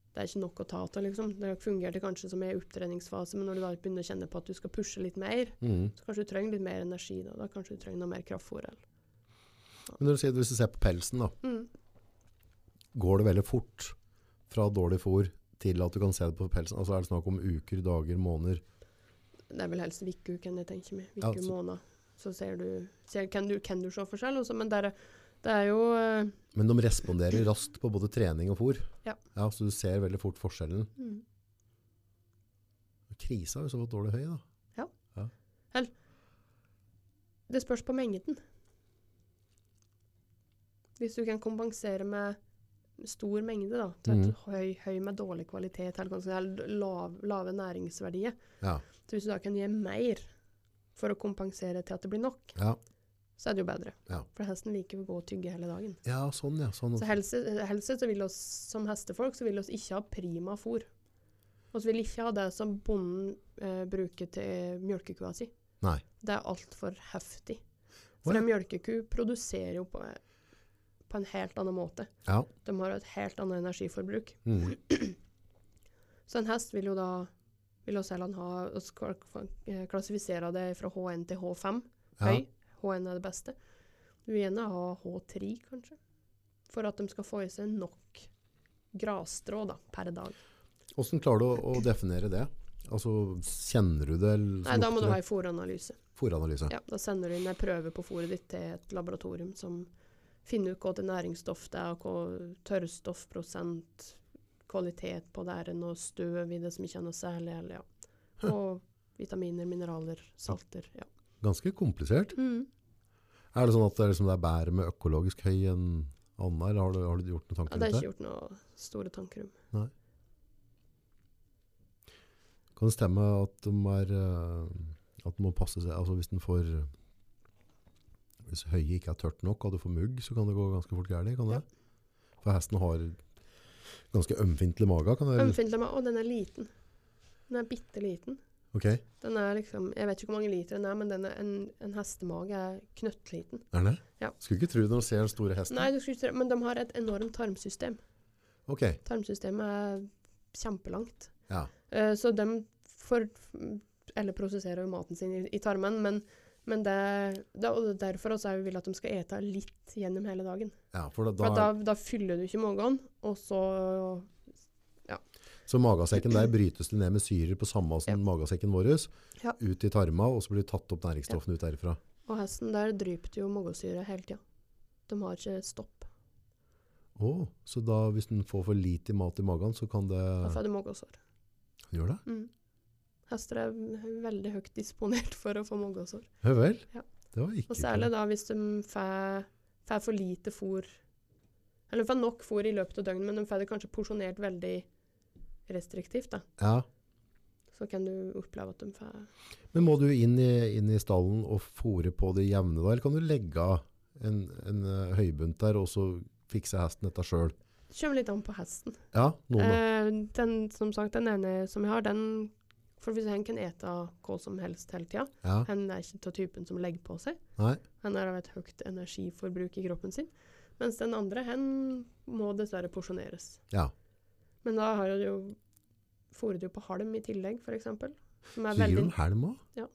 Det er ikke nok å ta av, liksom. Det fungerte kanskje som en opptreningsfase, men når du da begynner å kjenne på at du skal pushe litt mer, Mhm. så kanskje du trenger litt mer energi da. Da kanskje du trenger noe mer kraftfôr. eller- Men når du sier, hvis du ser på pelsen da, Mm. går det veldig fort fra dårlig fôr til at du kan se det på pelsen? Altså er det snakk om uker, dager, måneder? Det er vel helst vikeuken jeg tenker meg. Ja, Viku så- måned. Så ser du, ser, kan du, kan du se forskjell også, men det er, det er jo eh, Men de responderer raskt på både trening og fôr. Ja. Ja, så du ser veldig fort forskjellen. mm. Krisa har jo så fått dårlig høy da. Eller Det spørs på mengden. Hvis du kan kompensere med stor mengde, da, til et høy, høy med dårlig kvalitet eller, kanskje- eller lav, lave næringsverdier Ja. Så hvis du da kan gi mer for å kompensere til at det blir nok, Ja. så er det jo bedre. Ja. For hesten liker å gå og tygge hele dagen. ja, sånn, ja. Sånn. Så helse, helse så vil oss, som hestefolk så vil oss ikke ha prima fôr. Vi vil ikke ha det som bonden eh, bruker til mjølkekua si. Nei. Det er altfor heftig. Å, For ja. en mjølkeku produserer jo på, på en helt annen måte. Ja. De har et helt annet energiforbruk. Mm. Så en hest vil jo da vil oss heller ha oss kla- kva- klassifisere det fra H1 til H5. Ja. Høy. H1 er det beste. Du vil gjerne ha H3, kanskje. For at de skal få i seg nok grasstrå da, per dag. Hvordan klarer du å, å definere det? Altså, kjenner du det? eller- Nei, da må du ha en fòranalyse. Fôranalyse. Ja, da sender du inn en prøve på fôret ditt til et laboratorium som finner ut hva til næringsstoff det er, og hva tørrstoffprosent, kvalitet på det, er det noe støv i det som ikke er noe særlig, eller ja. Og vitaminer, mineraler, salter, ja. Ganske komplisert. Er det sånn at det er, liksom, det er bedre med økologisk høy enn Anna, eller har du, har du gjort noen ja tanker det rundt er ikke det? gjort noe store tanker om. Kan det stemme at de, er, eh, at de må passe seg? Altså, hvis den får hvis høyet ikke er tørt nok, og du får mugg, så kan det gå ganske fort gærent, kan det? For hesten har ganske ømfintlig mage, kan det? Ømfintlig meg, å, den er liten. Den er bitte liten. Ok, er Den er liksom, jeg vet ikke hvor mange liter den er, men den er en, en hestemage er knøttliten. den det? Ja. Skulle ikke tro det når du ser den store hesten. Nei, du skulle ikke tro men de har et enormt tarmsystem. Ok, Tarmsystemet er kjempelangt. ja. Eh, Så de får Eller prosesserer jo maten sin i, i tarmen, men, men det, det og derfor også er vi vil at de skal ete litt gjennom hele dagen. ja for da, da, For at da, da fyller du ikke magen, og så Så magasekken der brytes det ned med syrer på samme som magasekken vår, Ja. ut i tarma, og så blir det tatt opp næringsstoffene ut derifra. Og hesten der dryper jo magesyre hele tida. De har ikke stopp. Å, så da hvis den får for lite mat i magen, så kan det... Da får du magesår. Gjør det? Mm. Hester er veldig høyt disponert for å få magesår. Ja vel? Ja. Det var ikke... Og særlig da hvis de får, får for lite fôr. Eller de får nok fôr i løpet av døgnet, men de får det kanskje porsjonert veldig restriktivt. da. Ja. Så kan du oppleve at de får Men må du inn i, inn i stallen og fôre på det jevne da, eller kan du legge av en, en eh, høybunt der, og så fikse hesten dette selv? Kommer litt an på hesten. Ja, noen da. Eh, den, som sagt, den ene som jeg har, den For hvis han kan ete hva som helst hele tida Ja, Han er ikke av typen som legger på seg. nei. Han er av et høyt energiforbruk i kroppen sin. Mens den andre, han må dessverre porsjoneres. Ja. Men da har du jo fôret jo på halm i tillegg, f.eks. Som er Så gir du veldig dem helm også?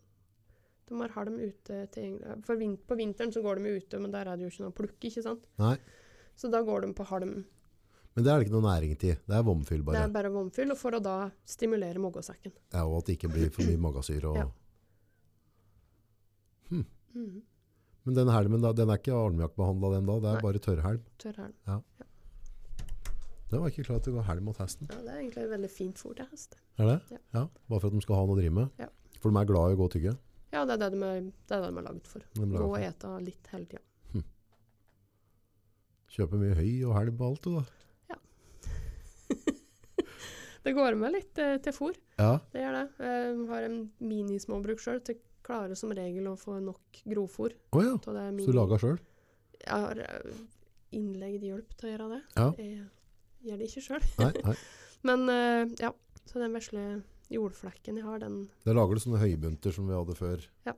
De har halm ute til egen- For vin på vinteren så går de ute, men der er det jo ikke noe å plukke, ikke sant? Nei. Så da går de på halm. Men det er det ikke noe næring til. Det er vomfyll Det bare. er bare vomfyll, og for å da stimulere magesekken. Ja, og at det ikke blir for mye magasyre og... Ja. Mhm. Men den helmen, da, den er ikke almiakkbehandla den da, det er Nei. bare tørrhelm. Tørr helm. Den var ikke klar til å gå helm mot hesten. Ja, det er egentlig et veldig fint fôr til hest. Er det? Ja. Bare for at de skal ha noe å drive med. Ja. For de er glad i å gå og tygge. Ja, det er det de er, det er, det de er lagd for. De er glad Gå for og det. ete litt hele tida. Kjøper mye høy og helm og alt. du, Da. Det går med litt eh, til fôr, Ja. det gjør det. Jeg har en minismåbruk sjøl. Jeg klarer som regel å få nok grovfôr. Å ja. Så det er Så min- du laga sjøl? Jeg har eh, innlegget hjelp til å gjøre det. Ja. Jeg gjør det ikke sjøl. Nei, nei. Men eh, ja, så den vesle jordflekken jeg har, den Da lager du sånne høybunter som vi hadde før. Ja.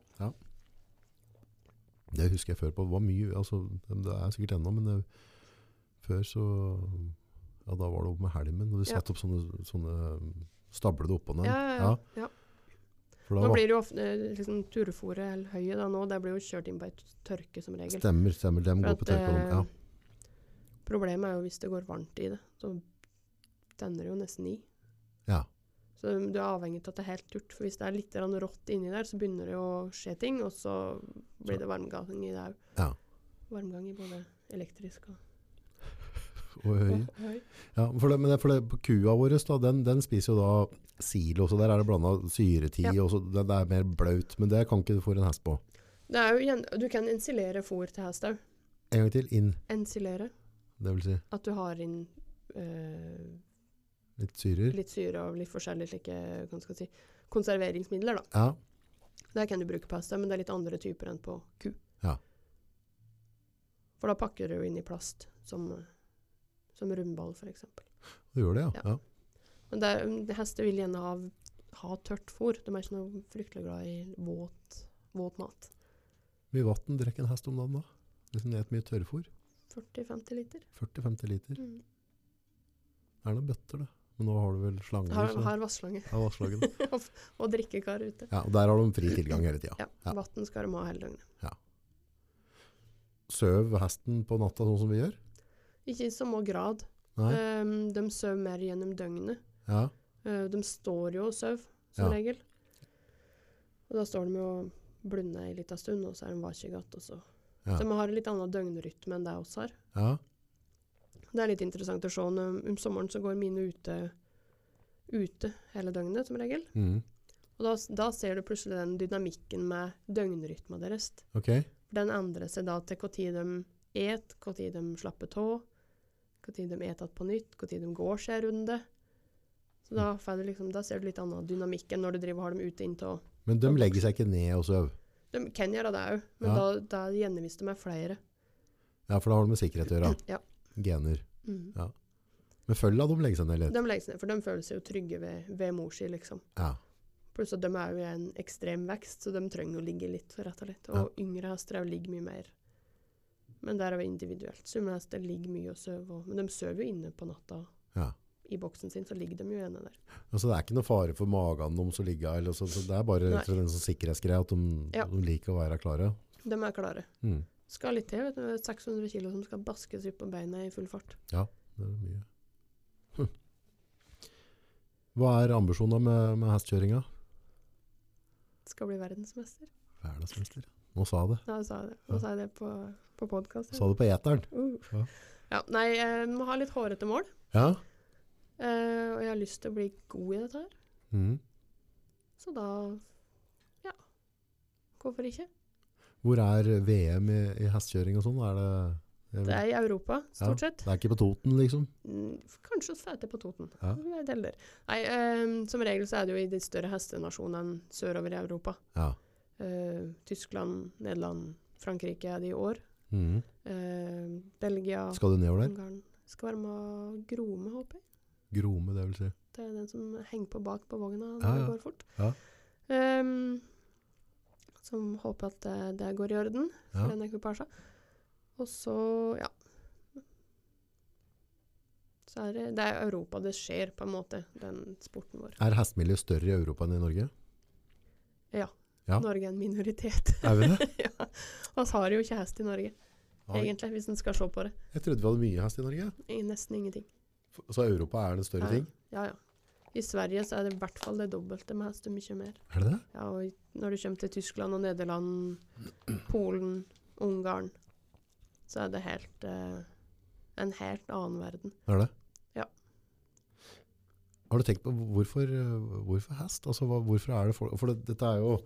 Det husker jeg før på. Det var mye altså, Det er sikkert ennå, men det, før så Ja, da var det opp med helmen, og du Ja. satte opp sånne, sånne Stablet oppå den. Ja, ja, ja. ja. for da Nå var, blir det jo ofte eh, liksom, turfôret eller høyet da nå, det blir jo kjørt inn på et tørke som regel. stemmer, stemmer. Dem For går på at, eh, tørkerom. Ja. Problemet er jo hvis det går varmt i det, så tenner det jo nesten i. Ja. Så du er avhengig av at det er helt turt, for hvis det er litt grann rått inni der, så begynner det å skje ting, og så blir det varmgang i det òg. Ja. Varmgang i både elektrisk og og høy. Oi. Ja, for det, men det, for det, på kua vår, da, den, den spiser jo da silo, så der er det blanda syretid, Ja. og så det, det er mer blaut, men det kan ikke du få en hest på. Det er jo, gjen- du kan ensilere fôr til hest òg. En gang til, inn, Ensilere. det vil si At du har inn eh, litt syrer. litt syre og litt forskjellige slike hva skal jeg si, konserveringsmidler. da. Ja, Det kan du bruke på hester, men det er litt andre typer enn på ku. Ja. For da pakker du jo inn i plast, som, som rundball f.eks. du gjør det, ja. ja. Men det er, mm, hester vil gjerne ha, ha tørt fôr. De er ikke noe fryktelig glad i våt, våt mat. Mye vann drikker en hest om dagen da? Hvis den spiser mye tørrfôr? 40-50 liter. 40-50 liter? Mm. Det er noen bøtter, det. Men nå har du vel slanger? Har, så- har vasslange Ja, vassdraget, da. og drikkekar ute. ja, og der har de fri tilgang hele tida. Ja, Ja. Vann skal de ha hele døgnet. Søv hesten på natta sånn som vi gjør? Ikke i samme grad. Nei? Um, de sover mer gjennom døgnet. Ja. Eh, de står jo og sover, som Ja. regel. Og da står de jo og blunder en liten stund, og så er de vakke godt. og så- Ja. Så de har en litt annen døgnrytme enn det oss har. ja. Det er litt interessant å se. Når, om sommeren så går mine ute, ute hele døgnet, som regel. Mm. Og da, da ser du plutselig den dynamikken med døgnrytmen deres. Ok. For den endrer seg da til når de et, når de slapper av, når de et att på nytt, når de går seg en runde. Så da, får du liksom, da ser du litt annen dynamikk enn når du driver og har dem ute inntil. Men de legger seg ikke ned og sover? De kan gjøre det òg, men Ja. da, da gjerne hvis de er flere. Ja, for da har de med sikkerhet å gjøre. Ja. Gener. Mm. Men følg av dem legger seg ned litt. De legger seg ned, for de føler seg jo trygge ved, ved mor si, liksom. Ja. Pluss at de er jo i en ekstrem vekst, så de trenger å ligge litt, rett og slett. Og yngre hester er jo ligger mye mer. Men der er det individuelt. Summe hester ligger mye og sover, og- men de sover jo inne på natta. Ja. I boksen sin så ligger de jo gjerne der. Altså, det er ikke noe fare for magen deres å ligge eller sånn, så, så Det er bare rett og slett en sånn sikkerhetsgreie at de, Ja. de liker å være klare. De er klare. Mm. Skal litt til, vet du. Det er 600 kilo som skal baskes ut på beina i full fart. Det er mye. Hm. Hva er ambisjonen med, med hestkjøringa? Skal bli verdensmester. Verdensmester. Nå sa jeg det. Nå sa jeg det, Nå sa jeg det på, på podkast. Sa det på eteren. Uh. Ja. Ja, nei, jeg må ha litt hårete mål. Ja. eh, og jeg har lyst til å bli god i dette her. Mm. Så da Ja. Hvorfor ikke? Hvor er VM i, i hestkjøring og sånn? Er det, jeg Det vet- er i Europa, stort sett. det er ikke på Toten, liksom? Mm, Kanskje vi får til på Toten. Ja. Det er deler. Nei, eh, som regel så er det jo i de større hestenasjonene sørover i Europa. Ja. Eh, Tyskland, Nederland, Frankrike er det i år. Mm. Eh, Belgia, Skal du nedover der? Ungarn. Skal være med å Grome, håper jeg. Grome, det vil si. Det er den som henger på bak på vogna når Ja, ja. det går fort. Ja. Ehm, som håper at det, det går i orden for Ja. den ekvipasjen. Og så, ja. Så er det, det er Europa det skjer, på en måte, den sporten vår. Er hestemiljøet større i Europa enn i Norge? Ja. Norge er en minoritet. Er vi det? ja. Vi har jo ikke hest i Norge, Har vi- egentlig, hvis en skal se på det. Jeg trodde vi hadde mye hest i Norge. I nesten ingenting. F- Så Europa er en større Ja, ting? Ja, ja. I Sverige så er det i hvert fall det dobbelte med hest, og mye mer. Er det det? Ja, og i- når du kommer til Tyskland og Nederland, Polen, Ungarn, så er det helt eh, en helt annen verden. Er det? Ja. Har du tenkt på hvorfor, eh, hvorfor hest? Altså, hva, hvorfor er det folk? For det, dette er jo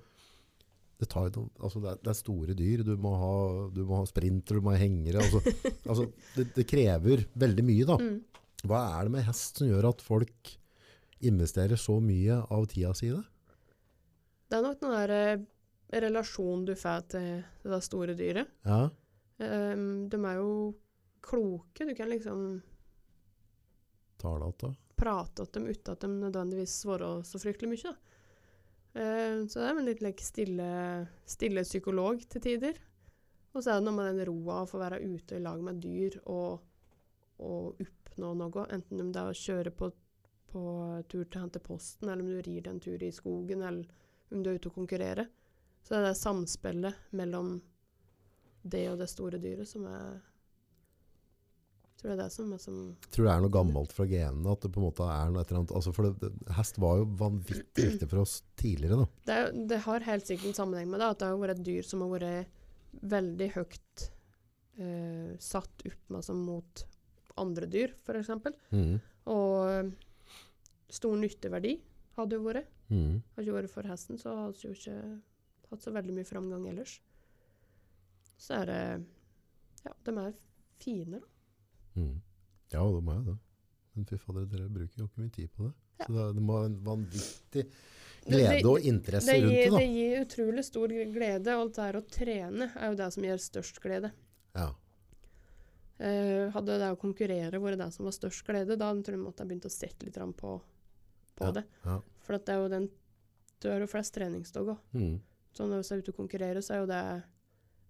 det, tar jo noe- altså det, er, det er store dyr, du må ha, du må ha sprinter, du må ha hengere. Altså, altså, det, det krever veldig mye. Da. Mm. Hva er det med hest som gjør at folk investerer så mye av tida si i det? Det er nok den der eh, relasjonen du får til det der store dyret. Ja, Ehm, de er jo kloke. Du kan liksom tar det at da? prate til dem uten at de nødvendigvis svarer så fryktelig mye. Da. Eh, så det er en litt like, stille, stille psykolog til tider. Og så er det noe med den roa å få være ute i lag med dyr og, og oppnå noe. Enten om det er å kjøre på, på tur til å hente posten, eller om du rir deg en tur i skogen, eller om du er ute og konkurrerer. Så det er det samspillet mellom det og det store dyret som er Jeg tror det er det som er som tror det er noe gammelt fra genene, at det på en måte er noe et eller annet. Altså, for det, det, hest var jo vanvittig viktig for oss tidligere, da. Det, er, jo- det har helt sikkert en sammenheng med det, at det har vært et dyr som har vært veldig høyt eh, satt opp med som altså mot andre dyr, f.eks. Mhm. Og eh, stor nytteverdi hadde jo vært. Mhm. Hadde det ikke vært for hesten, så hadde vi jo ikke hatt så veldig mye framgang ellers. Så er det Ja, de er fine, da. Mhm. Ja, det må jeg det. Men fy fader, dere bruker jo ikke mye tid på det. Ja. Så det, det må ha en vanvittig Det- glede og det, interesse det, rundt gir, det, det gir utrolig stor glede, og alt det her å trene er jo det som gir størst glede. da. Ja. Eh, hadde det å konkurrere vært det som var størst glede, da tror jeg måtte jeg begynt å sette litt grann på, på det. ja. For at det er jo den Du har jo flest treningsdager. Mhm. Så når vi er ute og konkurrerer, så er jo det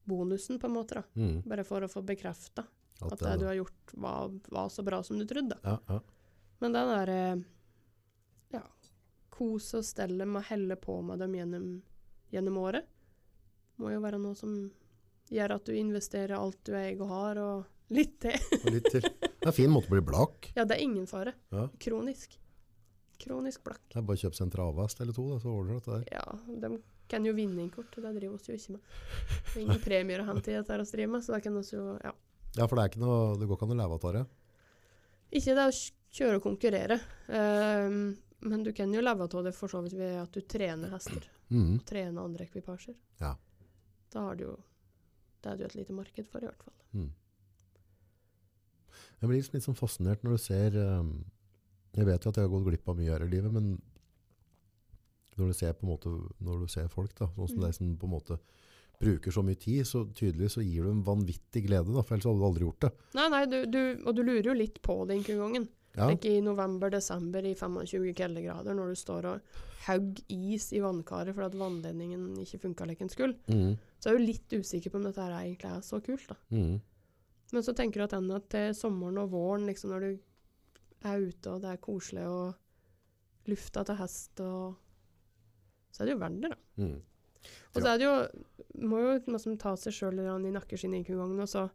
bonusen, på en måte. da. Mhm. Bare for å få bekrefta Alt at det du da. har gjort, var, var så bra som du trodde. da. Ja, ja. Men den derre Ja, kose og stelle med å helle på med dem gjennom, gjennom året, må jo være noe som gjør at du investerer alt du eier og har, og litt til. Og litt til. Det er en fin måte å bli blakk. Ja, det er ingen fare. Ja. Kronisk. Kronisk blakk. Det er bare å kjøpe seg en travhest eller to, da, så ordner du dette der. Ja, de kan jo vinne inn kort, og det driver vi jo ikke med. Det er ingen premier å hente i dette her å drive med, så da kan vi jo Ja. Ja, for det, er ikke noe, det går ikke an å leve av det. Ikke det å kj- kjøre og konkurrere, ehm, men du kan jo leve av det for så vidt ved at du trener hester. Mhm. trene andre ekvipasjer. Ja. Da har du jo Det er det jo et lite marked for, i hvert fall. Mm. Jeg blir liksom litt sånn fascinert når du ser um, Jeg vet jo at jeg har gått glipp av mye her i livet, men når du ser, på en måte, når du ser folk, da, sånn som Mm. deg som på en måte bruker så mye tid, så tydelig så gir du en vanvittig glede, da, for ellers hadde du aldri gjort det. Nei, nei, du, du, og du lurer jo litt på det innkugangen. Ja, Tenk i november-desember i 25 kuldegrader, når du står og hogger is i vannkaret fordi at vannledningen ikke funka like den skulle, mm, så er du litt usikker på om dette her egentlig er så kult, da. mm, Men så tenker du at den at til sommeren og våren, liksom når du er ute og det er koselig og lufta til hest og Så er det jo verdt det, da. mm. Og så er det jo, må jo liksom ta seg sjøl i nakkeskinnet i gangen, og så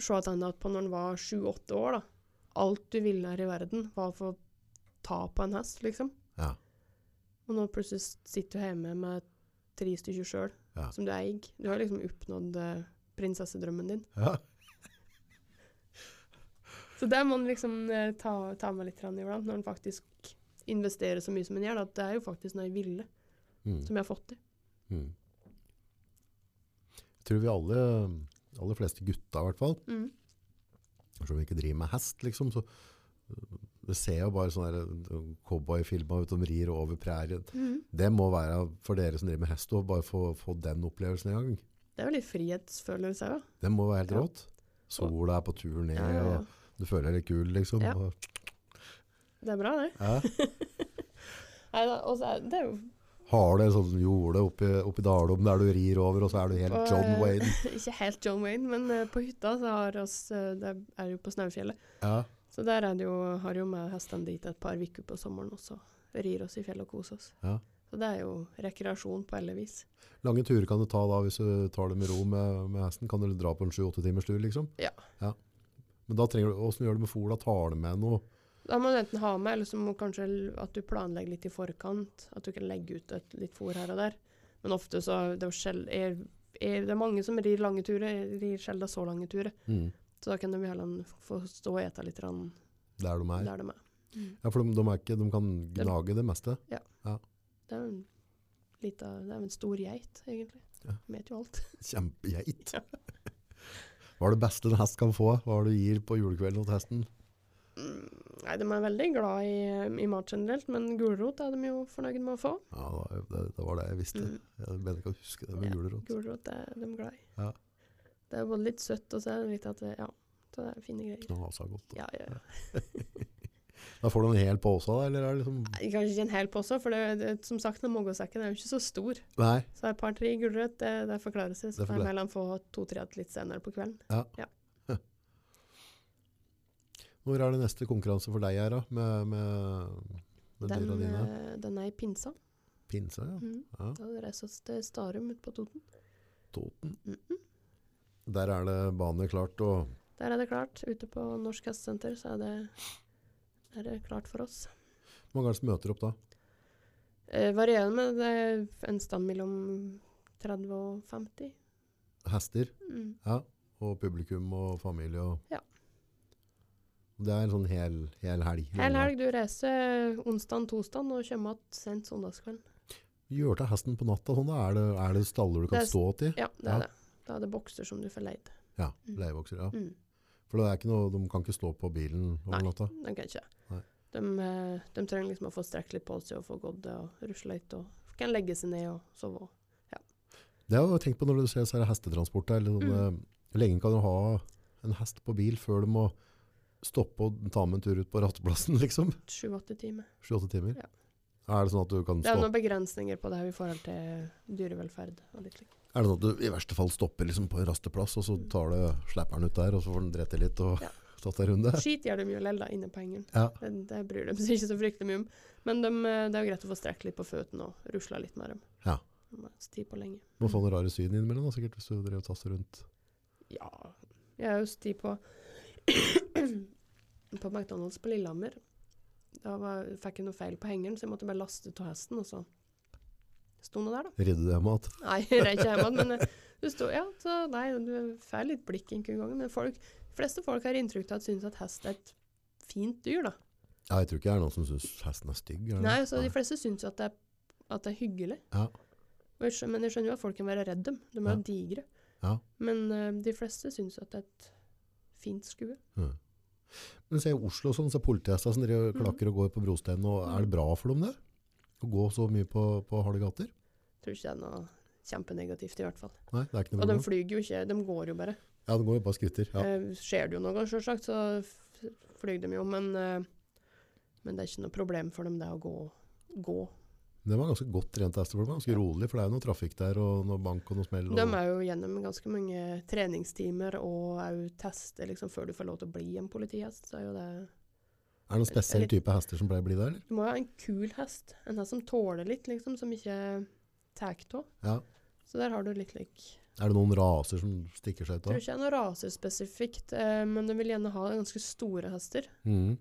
se at han at på når han var sju-åtte år, da Alt du ville her i verden, var å få ta på en hest, liksom. Ja. Og nå plutselig s- sitter du hjemme med tre stykker sjøl, Ja. som du eier. Du har liksom oppnådd eh, prinsessedrømmen din. ja. Så der må en liksom eh, ta, ta med litt grann iblant, når en faktisk investerer så mye som en gjør. da, At det er jo faktisk noe jeg ville, Mm, som jeg har fått til. mm. Jeg tror vi alle, aller fleste gutta i hvert fall, Mm. Selv om vi ikke driver med hest, liksom, så øh, du ser jo bare sånne der, øh, cowboyfilmer ut, de rir over prærien. Mhm. Det må være for dere som driver med hest, å bare få, få den opplevelsen en gang. Det er jo litt frihetsfølelse òg. Det må være helt Ja. rått. Sola er på tur ned, Ja, ja, ja. og du føler deg kul, liksom. Ja. og- Det er bra, det. Ja. Neida, og så er det er jo Har du en sånn jorde oppi, oppi Dalom der du rir over, og så er du helt Og, John eh, Wayne. ikke helt John Wayne, men eh, på hytta så har oss, eh, det er jo på Snaufjellet, Ja. så der er det jo, har jo med hestene dit et par uker på sommeren også. Rir oss i fjellet og koser oss. Ja. Så det er jo rekreasjon på alle vis. Lange turer kan du ta da, hvis du tar det med ro med, med hesten. Kan du dra på en 7-8 timers tur, liksom? Ja. Men da trenger du, hvordan gjør du med fola? Tar du med noe? Da må du enten ha med, eller så må kanskje l- at du planlegger litt i forkant, at du kan legge ut et litt fôr her og der. Men ofte så er det, jo sjel- er, er, det er mange som rir lange turer, rir sjelden så lange turer. Mm. Så da kan de heller få stå og ete litt grann Der de er. der de er. Ja, for de, de, er ikke, de kan gnage det meste. Det er jo en, lita, det er jo en stor geit, egentlig. Ja. Den Vet jo alt. Kjempegeit. Hva er det beste en hest kan få? Hva er det du gir på julekvelden til hesten? Nei, de er veldig glad i, i mat generelt, men gulrot er de jo fornøyd med å få. Ja, det, var- det, det var det jeg visste. Mm. Jeg mener ikke å huske det med Ja, gulrot. Gulrot er de glad i. Ja. Det er jo både litt søtt, og så er det litt at det, ja, så det er fine greier. Nå har jeg sagt godt. Ja, ja, ja. Da får du en hel pose av det, eller er det liksom... Nei, Kanskje ikke en hel pose, for det, det, som sagt, den moggosekken er jo ikke så stor. Nei, Så et par-tre gulrøtt, det, det forklarer seg. Så Det kan forklarer- jeg heller få to-tre igjen litt senere på kvelden. når er det neste konkurranse for deg her da? Med, med, med Den, dyra dine? eh, den er i pinsa. Pinse, ja. Mm. ja. Da reiser vi oss til Starum ute på Toten. Toten. Mm Der er det bane klart, og Der er det klart. Ute på Norsk Hestesenter så er det, er det klart for oss. hvor mange er det som møter opp da? Eh, varierende, men det er en stand mellom 30 og 50. Hester, Mm. ja. Og publikum og familie og... Ja. Det er en sånn hel, hel helg. Hel helg. Du reiser onsdag, torsdag og kommer igjen sent søndagskvelden. Gjør til hesten på natta, sånn, da er det, er det staller du kan Det er- stå til? Ja, det Ja. er det. Da er det bokser som du får leid. Ja, Mm. leiebokser, ja. Mm. For det er ikke noe, de kan ikke stå på bilen over Nei. natta. De kan ikke. Nei. De, eh, de trenger liksom å få strekt litt på seg og få gått og rusle litt. Og kan legge seg ned og sove. Det har jeg jo tenkt på når du ser disse her hestetransporter. Eller sånne, Mm. Hvor lenge kan du ha en hest på bil før du må stoppe og ta med en tur ut på rasteplassen, liksom? Sju-åtte timer. 7-8 timer? Er det sånn at du kan Det er stoppe? noen begrensninger på det her i forhold til dyrevelferd og litt slik. Er det sånn at du i verste fall stopper liksom på en rasteplass, og så tar du slapperen ut der, og så får den drette litt og Mm. Ja. tatt en runde? Skit gjør de jo lell da, inne på hengen. Ja. Det, det bryr de seg ikke så fryktelig mye om. Men de, eh, det er jo greit å få strekt litt på føttene og rusla litt med dem. Ja. De har Sti på lenge. Må få noen rare syn innimellom, da, sikkert, hvis du driver og tasser rundt. Ja. Jeg er jo sti på På McDonald's på Lillehammer. Da var, fikk jeg noe feil på hengeren, så jeg måtte bare laste ut av hesten, og så sto den der, da. Ridder du hjem igjen? Nei, jeg er ikke hjemme, men eh, du sto Ja, så nei, du får litt blikk en gang, men folk, de fleste folk har inntrykk av at synes at hest er et fint dyr, da. Ja, jeg tror ikke det er noen som syns hesten er stygg. er det? Nei, så de fleste syns jo at det er, at det er hyggelig. Mm. Ja. Og jeg skjønner, men jeg skjønner jo at folk kan være redd dem. De er jo digre. Ja. Men eh, de fleste syns at det er et fint skue. Mm. Men se i Oslo og sånn, så er politihester som driver og Mhm. klakker og går på brosteinen, og er det bra for dem det? Å gå så mye på, på harde gater? tror ikke det er noe kjempenegativt, i hvert fall. Nei, det er ikke noe Og de problem. flyger jo ikke, de går jo bare. Ja, det går jo bare skritter. Mhm. Ja. Eh, skjer det jo noe, selvsagt, så f- flyr de jo, men, eh, men det er ikke noe problem for dem det å gå. gå. Det var ganske godt trent hester for dem, ganske rolig, for det er jo noe trafikk der, og noe bank og noe smell. Og... De er jo gjennom ganske mange treningstimer og er jo tester liksom, før du får lov til å bli en politihest. Så er jo det Er det noen spesiell Litt- type hester som pleier å bli der, eller? Du må jo ha en kul hest, en hest som tåler litt, liksom, som ikke tar av. Ja. Så der har du litt lik Er det noen raser som stikker seg ut Tror da? ikke det er noe rasespesifikt, eh, men de vil gjerne ha ganske store hester. Mhm.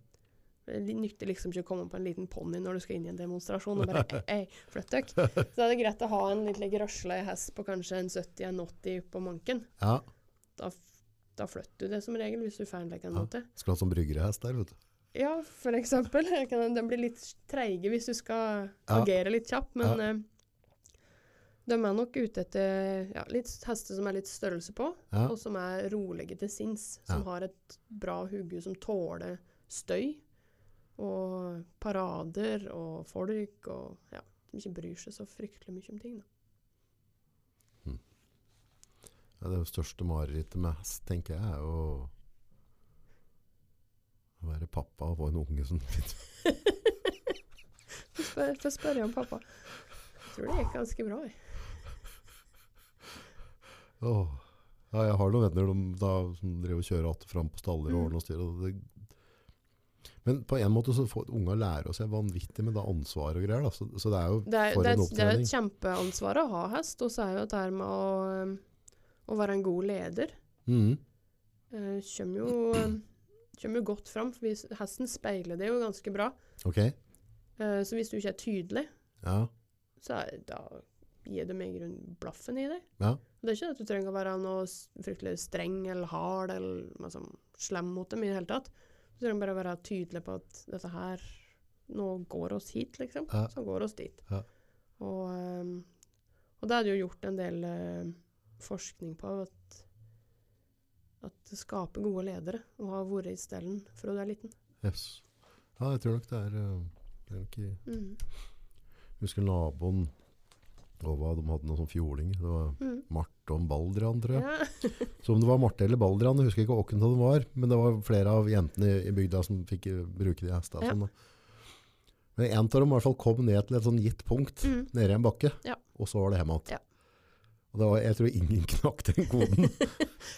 Det nytter liksom ikke å komme på en liten ponni når du skal inn i en demonstrasjon og bare ei, ei, flytt dere. Så er det greit å ha en litt grøsla hest på kanskje en 70, en 80 på manken. Ja, Da, f- da flytter du det som regel, hvis du får en lek en Ja. måte. skulle hatt sånn bryggerehest der, vet du. Ja, for eksempel. Jeg Kan, de blir litt treige hvis du skal Ja. agere litt kjapt, men eh, de er nok ute etter ja, litt hester som er litt størrelse på, Ja. og som er rolige til sinns. Som Ja. har et bra hode, som tåler støy og parader og folk, og ja, som ikke bryr seg så fryktelig mye om ting. Da. Ja, det største marerittet med hest, tenker jeg, er jo å være pappa og få en unge som Får spør- Får spørre om pappa. Jeg tror det gikk ganske bra. Jeg. Åh. Ja, jeg har noen venner de, da, som driver og kjører att fram på staller og Mm. ordner og styrer. og det- Men på en måte så får unga lære seg vanvittig med det ansvaret og greier. Da. Så, så det er jo Det er, for det, er, en et- det er opptrening. et kjempeansvar å ha hest, og så er jo det her med å, øhm, å være en god leder Mhm. eh, kommer jo, øhm, kommer jo godt fram. For hvis, hesten speiler det jo ganske bra. Ok, Eh, så hvis du ikke er tydelig, ja. så er, da gir de i grunnen blaffen i deg. Ja. Og Det er ikke at du trenger å være noe s- fryktelig streng eller hard eller noe sånn slem mot dem i det hele tatt. Du trenger bare å være tydelig på at dette her Nå går oss hit, liksom. Ja. Så går oss dit. Ja. Og, ehm, og det er det jo gjort en del eh, forskning på at, at det skaper gode ledere å ha vært i stellen fra du er liten. Yes. ja, jeg tror nok det er eh, det er nok i- Mm. Jeg husker naboen og hva, de hadde noen sånn fjording. Det var Mm. Marte og Baldrian, tror jeg. Ja. Så om det var Marte eller Baldrian, jeg husker ikke hvem det var, men det var flere av jentene i- i bygda som fikk eh, bruke de hestene. Ja. og Sånn, da. men en av dem i hvert fall kom ned til et sånn gitt punkt, Mm. nede i en bakke, Ja. og så var det hjemme igjen. Ja. Og det var, jeg tror ingen knakk den koden.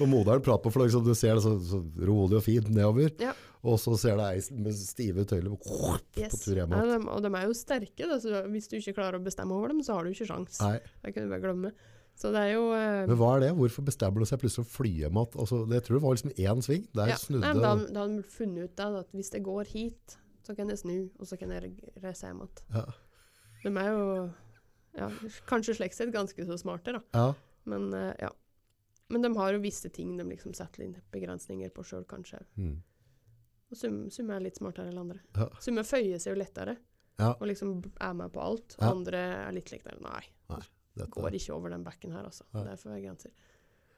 og moderen prater på, for liksom, du ser det så, så rolig og fint nedover, Ja. og så ser det ei med stive tøyler på Yes. tur hjem Ja, igjen. de, og de er jo sterke, da, så hvis du ikke klarer å bestemme over dem, så har du ikke sjans. Nei, Det kan du bare glemme. Så det er jo eh, men hva er det? Hvorfor bestemmer du seg plutselig å fly hjem igjen? Altså, det- jeg tror det var liksom én sving, der ja. Nei, snudde... men da, da har de funnet ut da, at hvis det går hit, så kan jeg snu, og så kan jeg re- reise hjem igjen. Ja. De er jo ja, kanskje slik sett ganske så smarte, da. Ja. Men, eh, ja. Men de har jo visse ting de liksom setter inn begrensninger på sjøl, kanskje. Mm. Og sum, summe er litt smartere enn andre. Ja. Summe føyer seg jo lettere, Ja. og liksom b- er med på alt. Ja. Andre er litt like der. Nei, Dette. går ikke over den bekken her, altså. Nei. Det er for høye grenser.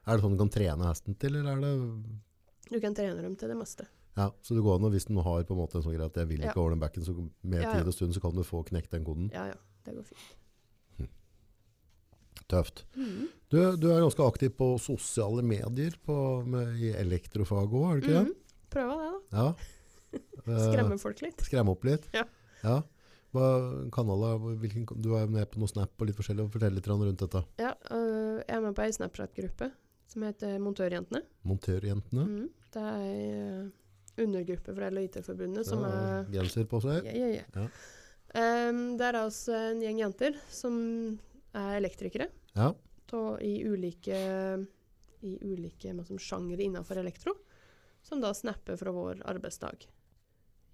Er det sånn du kan trene hesten til, eller er det Du kan trene dem til det meste. ja, så det går an, og Hvis den har på en måte en sånn greie at jeg vil ikke Ja. over den bekken, så med Ja, ja. tid og stund så kan du få knekt den koden. Ja, ja. Det går fint. Tøft. Mm. Du, du er ganske aktiv på sosiale medier på, med, i elektrofag òg, er du ikke det? Mhm. Prøve det, da. Ja. Eh, Skremme folk litt. skremme opp litt? Ja. Ja. Hva, kanaler, hvilken, du er jo med på noe Snap og litt forskjellig, og fortell litt grann rundt dette. Ja, øh, jeg er med på ei Snapchat-gruppe som heter Montørjentene. Montørjentene. Mhm. Det er ei øh, undergruppe fra LHIT-forbundet som Ja, er Genser Eh, på seg. Ja, ja, ja. Ja. Ehm, det er altså en gjeng jenter som er elektrikere, Ja. da i ulike, i ulike hva som, sjangere innenfor elektro, som da snapper fra vår arbeidsdag.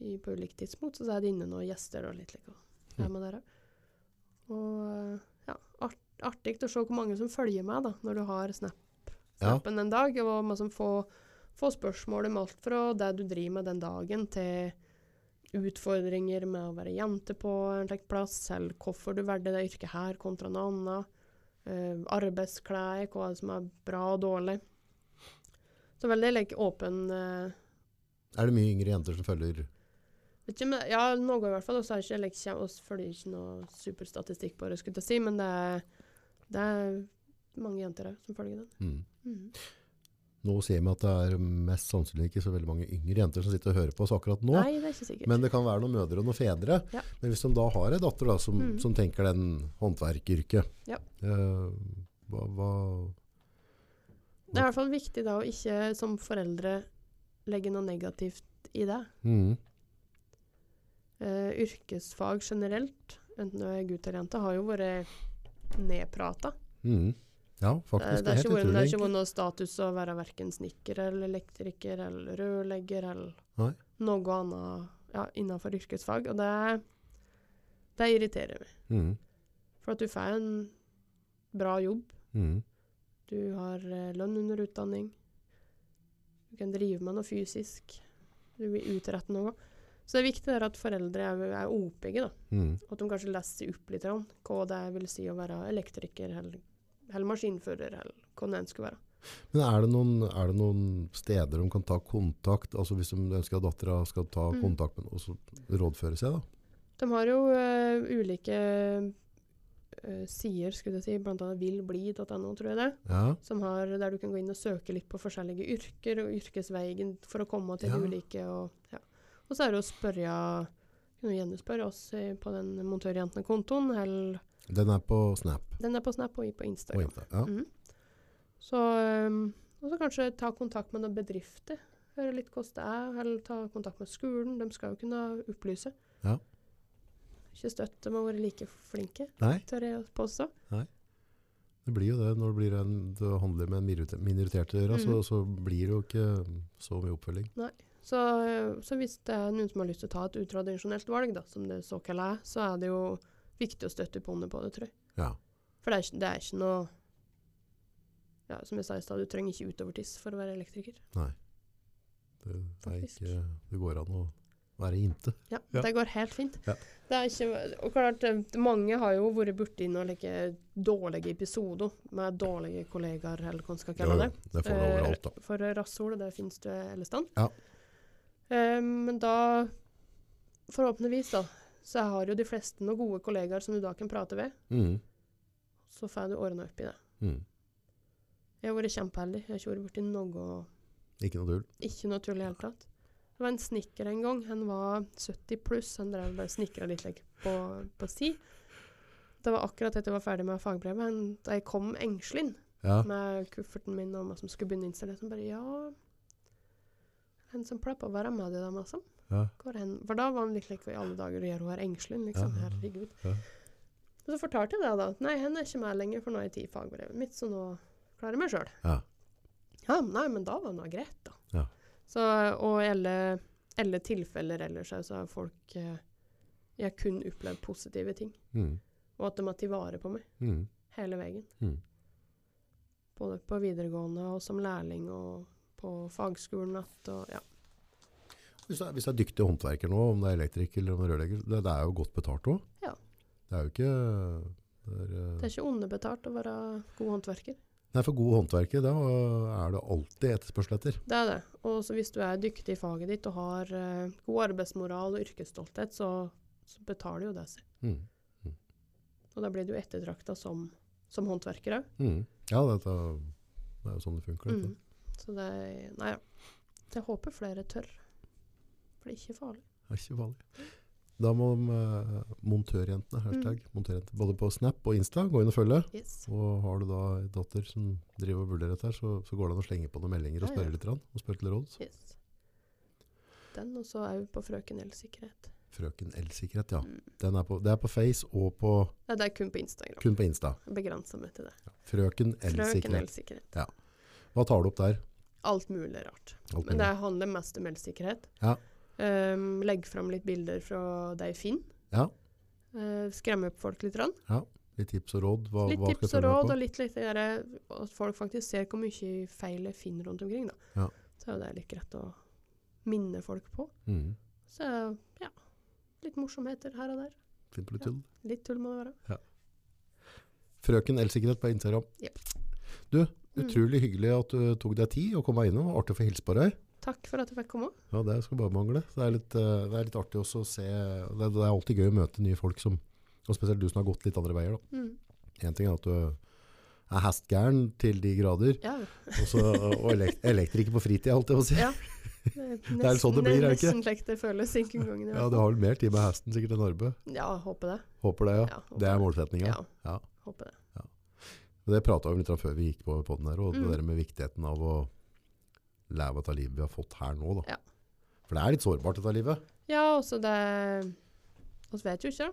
I, på ulike tidspunkt, så er det inne noen gjester og litt like, og er med der. også. Og ja, art, artig å se hvor mange som følger med da, når du har snap, Ja. snappen en dag, og man som får, får spørsmål om alt fra det du driver med den dagen, til utfordringer med å være jente på en slik plass, eller hvorfor du valgte det yrket her kontra noe annet, eh, arbeidsklær, hva som er bra og dårlig. Så veldig like, åpen eh, Er det mye yngre jenter som følger vet ikke, om det- Ja, noe i hvert fall. Og så er ikke like, kjem- oss følger ikke noe superstatistikk på det, skulle jeg si, men det er, det er mange jenter her som følger den. mm. Mhm. Nå sier vi at det er mest sannsynlig ikke så veldig mange yngre jenter som sitter og hører på oss akkurat nå. Nei, det er ikke sikkert. Men det kan være noen mødre og noen fedre. Ja. Men hvis de da har en datter da, som, Mm. som tenker den håndverkyrket, Ja. eh, hva, hva, det er i hvert fall viktig da å ikke som foreldre legge noe negativt i det. mm, Eh, yrkesfag generelt, enten du er gutt eller jente, har jo vært nedprata. mm. Ja, Eh, Det, faktisk. det er ikke vært- det utrolig, har ikke vært noe status å være verken snekker eller elektriker eller rørlegger eller Nei. noe annet ja, innenfor yrkesfag, og det, det irriterer meg. egentlig. Mm, For at du får en bra jobb, mm, du har eh, lønn under utdanning, du kan drive med noe fysisk, du vil utrette noe. Så det er viktig der at foreldre er, er oppegge, da. mm. At de kanskje leser opp litt grann hva det vil si å være elektriker eller, eller maskinfører, eller hva det enn skulle være. Men er det, noen, er det noen steder de kan ta kontakt, altså hvis de ønsker at dattera skal ta Mm. kontakt med og så rådføre seg da? De har jo eh, ulike eh, sider, skulle jeg si, blant annet villbli.no, tror jeg det, er, Ja, som har, der du kan gå inn og søke litt på forskjellige yrker og yrkesveien for å komme til Ja. de ulike. Og, ja. og så er det å spørre, kan du gjerne spørre oss eh, på den Montørjentene-kontoen, eller den er på Snap. den er på Snap og i- på og Instagram. Insta, Ja. Mhm. Så, um, og så kanskje ta kontakt med noen bedrifter. Høre litt hvordan det er. Eller ta kontakt med skolen. De skal jo kunne opplyse. Ja. Ikke støtt dem å være like flinke, Nei, tør jeg å påstå. Det blir jo det når det, blir en, du handler med en minorite- minoritet å gjøre, så, Mhm. så blir det jo ikke så mye oppfølging. Så, uh, så hvis det er noen som har lyst til å ta et utradisjonelt valg, da, som det såkalt er, så er det jo viktig å støtte opp under på det, tror jeg. Ja. For det er, ikke- det er ikke noe ja, Som jeg sa i stad, du trenger ikke utovertiss for å være elektriker. Det, er Faktisk. ikke, det går an å være inte. Ja, Ja. det går helt fint. Ja. Det er ikke, og klart, eh, mange har jo vært borti noen like dårlige episoder med dårlige kollegaer, eller hva en skal kalle det. det får du overalt, da. Eh, For rasshol, det finnes det alle steder. Ja. Eh, men da, forhåpentligvis da, så har jo de fleste noen gode kollegaer som du da kan prate ved, Mm. så får du ordna opp i det. Mm. Jeg har vært kjempeheldig. Jeg har ikke vært borti noe Ikke noe tull. Ikke noe tull i det hele tatt. Det var en snekker en gang. Han var 70 pluss. Han drev bare snekra litt like, på, på si. Det var akkurat etter jeg var ferdig med fagbrevet. Han, da jeg kom engstelig Ja. med kufferten min og meg som skulle begynne å installere, så bare Ja, han som pleier på å være med deg, da, liksom. Ja. Hvor hen? For da var han litt like, Hva i alle dager gjør hun her engstelig? Ja, Liksom. ja, ja. Herregud. Ja. Og så fortalte jeg det, da. at Nei, han er ikke med lenger, for nå har jeg tid i fagbrevet mitt, så nå klarer jeg meg sjøl. Ja. Ja, nei, men da var det noe greit, da. Ja. Så, og i alle, alle tilfeller ellers her, så har folk eh, Jeg har kun opplevd positive ting. Mm. Og at de har tatt vare på meg Mm. hele veien. Mm. Både på videregående og som lærling og på fagskolen att og ja. Hvis det, er, hvis det er dyktige håndverker nå, om det er elektriker eller om det er rørlegger, det, det er jo godt betalt òg. Ja. Det er jo ikke det er, eh, Det er ikke underbetalt å være god håndverker. Nei, for gode håndverkere, da er det alltid etterspørsel etter. Det er det. Og så hvis du er dyktig i faget ditt og har eh, god arbeidsmoral og yrkesstolthet, så, så betaler jo det seg. Mm. Og da blir du ettertrakta som, som håndverker òg. Mm. Ja, dette, det er jo sånn det funker. Dette. Mm. Så det er- Nei ja. Jeg håper flere tør. For det er ikke farlig. Det er ikke farlig. Da må eh, montørjentene, hashtag Mm. montørjentene, både på Snap og Insta, gå inn og følge. Yes. Og har du da en datter som driver og vurderer dette, her, så, så går det an å slenge på noen meldinger og Ja, ja. spørre litt, grann, og spørre til råd. yes. Den, og så òg på Frøken Elsikkerhet. Frøken Elsikkerhet, ja. Mm. Den er på, det er på Face og på, Nei, det er kun på Instagram. kun på Insta. Begrensa meg til det. Frøken Frøken Elsikkerhet. Elsikkerhet. Hva tar du opp der? Alt mulig rart. Alt Men det mulig. handler mest om elsikkerhet. Mm. Ja. Ehm, legg fram litt bilder fra deg Finn. Ja. Eh, skremme opp folk litt. Rann. Litt tips og råd? Hva, Litt hva skal tips jeg og følge med råd, på? og litt, litt der, at folk faktisk ser hvor mye feil jeg finner rundt omkring. Da. Ja. Så er jo det litt greit å minne folk på. Mm. Så ja, litt morsomheter her og der. Fint på litt tull. Litt tull må det være. Frøken Elsikkerhet på Instagram. Ja. Du, Mm. utrolig hyggelig at du tok deg tid og kom deg innom. Artig å få hilse på deg. Takk for at du fikk komme. Ja, det skal bare mangle. Så Det er litt, eh, det er litt artig også å se det, det er alltid gøy å møte nye folk som Og spesielt du som har gått litt andre veier. Mm. da. Én ting er at du er hestgæren til de grader, Ja, og, så, og elek elektriker på fritida, holdt jeg på å si. Ja. det er nesten, er sånn det blir, er det ikke? nesten slik det føles enkelgangen. Ja, du har vel mer tid med hesten sikkert enn arbeid. ja, håper det. Håper det, ja. Ja, håper Det er målsettinga. Ja. Ja. Håper det. Det prata vi litt om før vi gikk på podden her, og Mm. det der med viktigheten av å leve av det livet vi har fått her nå. Da. Ja. For det er litt sårbart, dette livet. Ja, også det Vi vet jo ikke. da.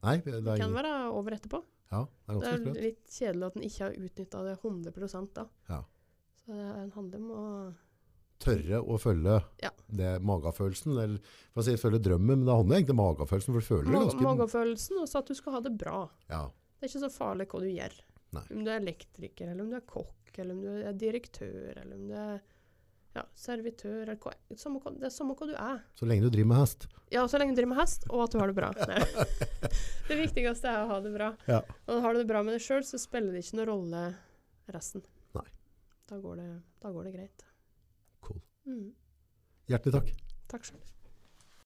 Nei, det er, Det kan ingen- være over etterpå. ja, det er Det ganske er sprøtt. litt kjedelig at en ikke har utnytta det 100 da. Ja. Så det er- en handler om å Tørre å følge Ja. det, magefølelsen, eller for å si følge drømmen, men det handler egentlig om magefølelsen, for du føler det Mag- ganske... Magefølelsen, og så at du skal ha det bra. Ja, Det er ikke så farlig hva du gjør. Nei. Om du er elektriker, eller om du er kokk, eller om du er direktør, eller om du er ja, servitør, eller hva samme hva- Det er samme hva du er. så lenge du driver med hest. Ja, så lenge du driver med hest, og at du har det bra. Nei. Det viktigste er å ha det bra. Ja. Og har du det bra med deg sjøl, så spiller det ikke noen rolle resten. Nei. Da går det, da går det greit. Cool. Mm. Hjertelig takk. Takk sjøl.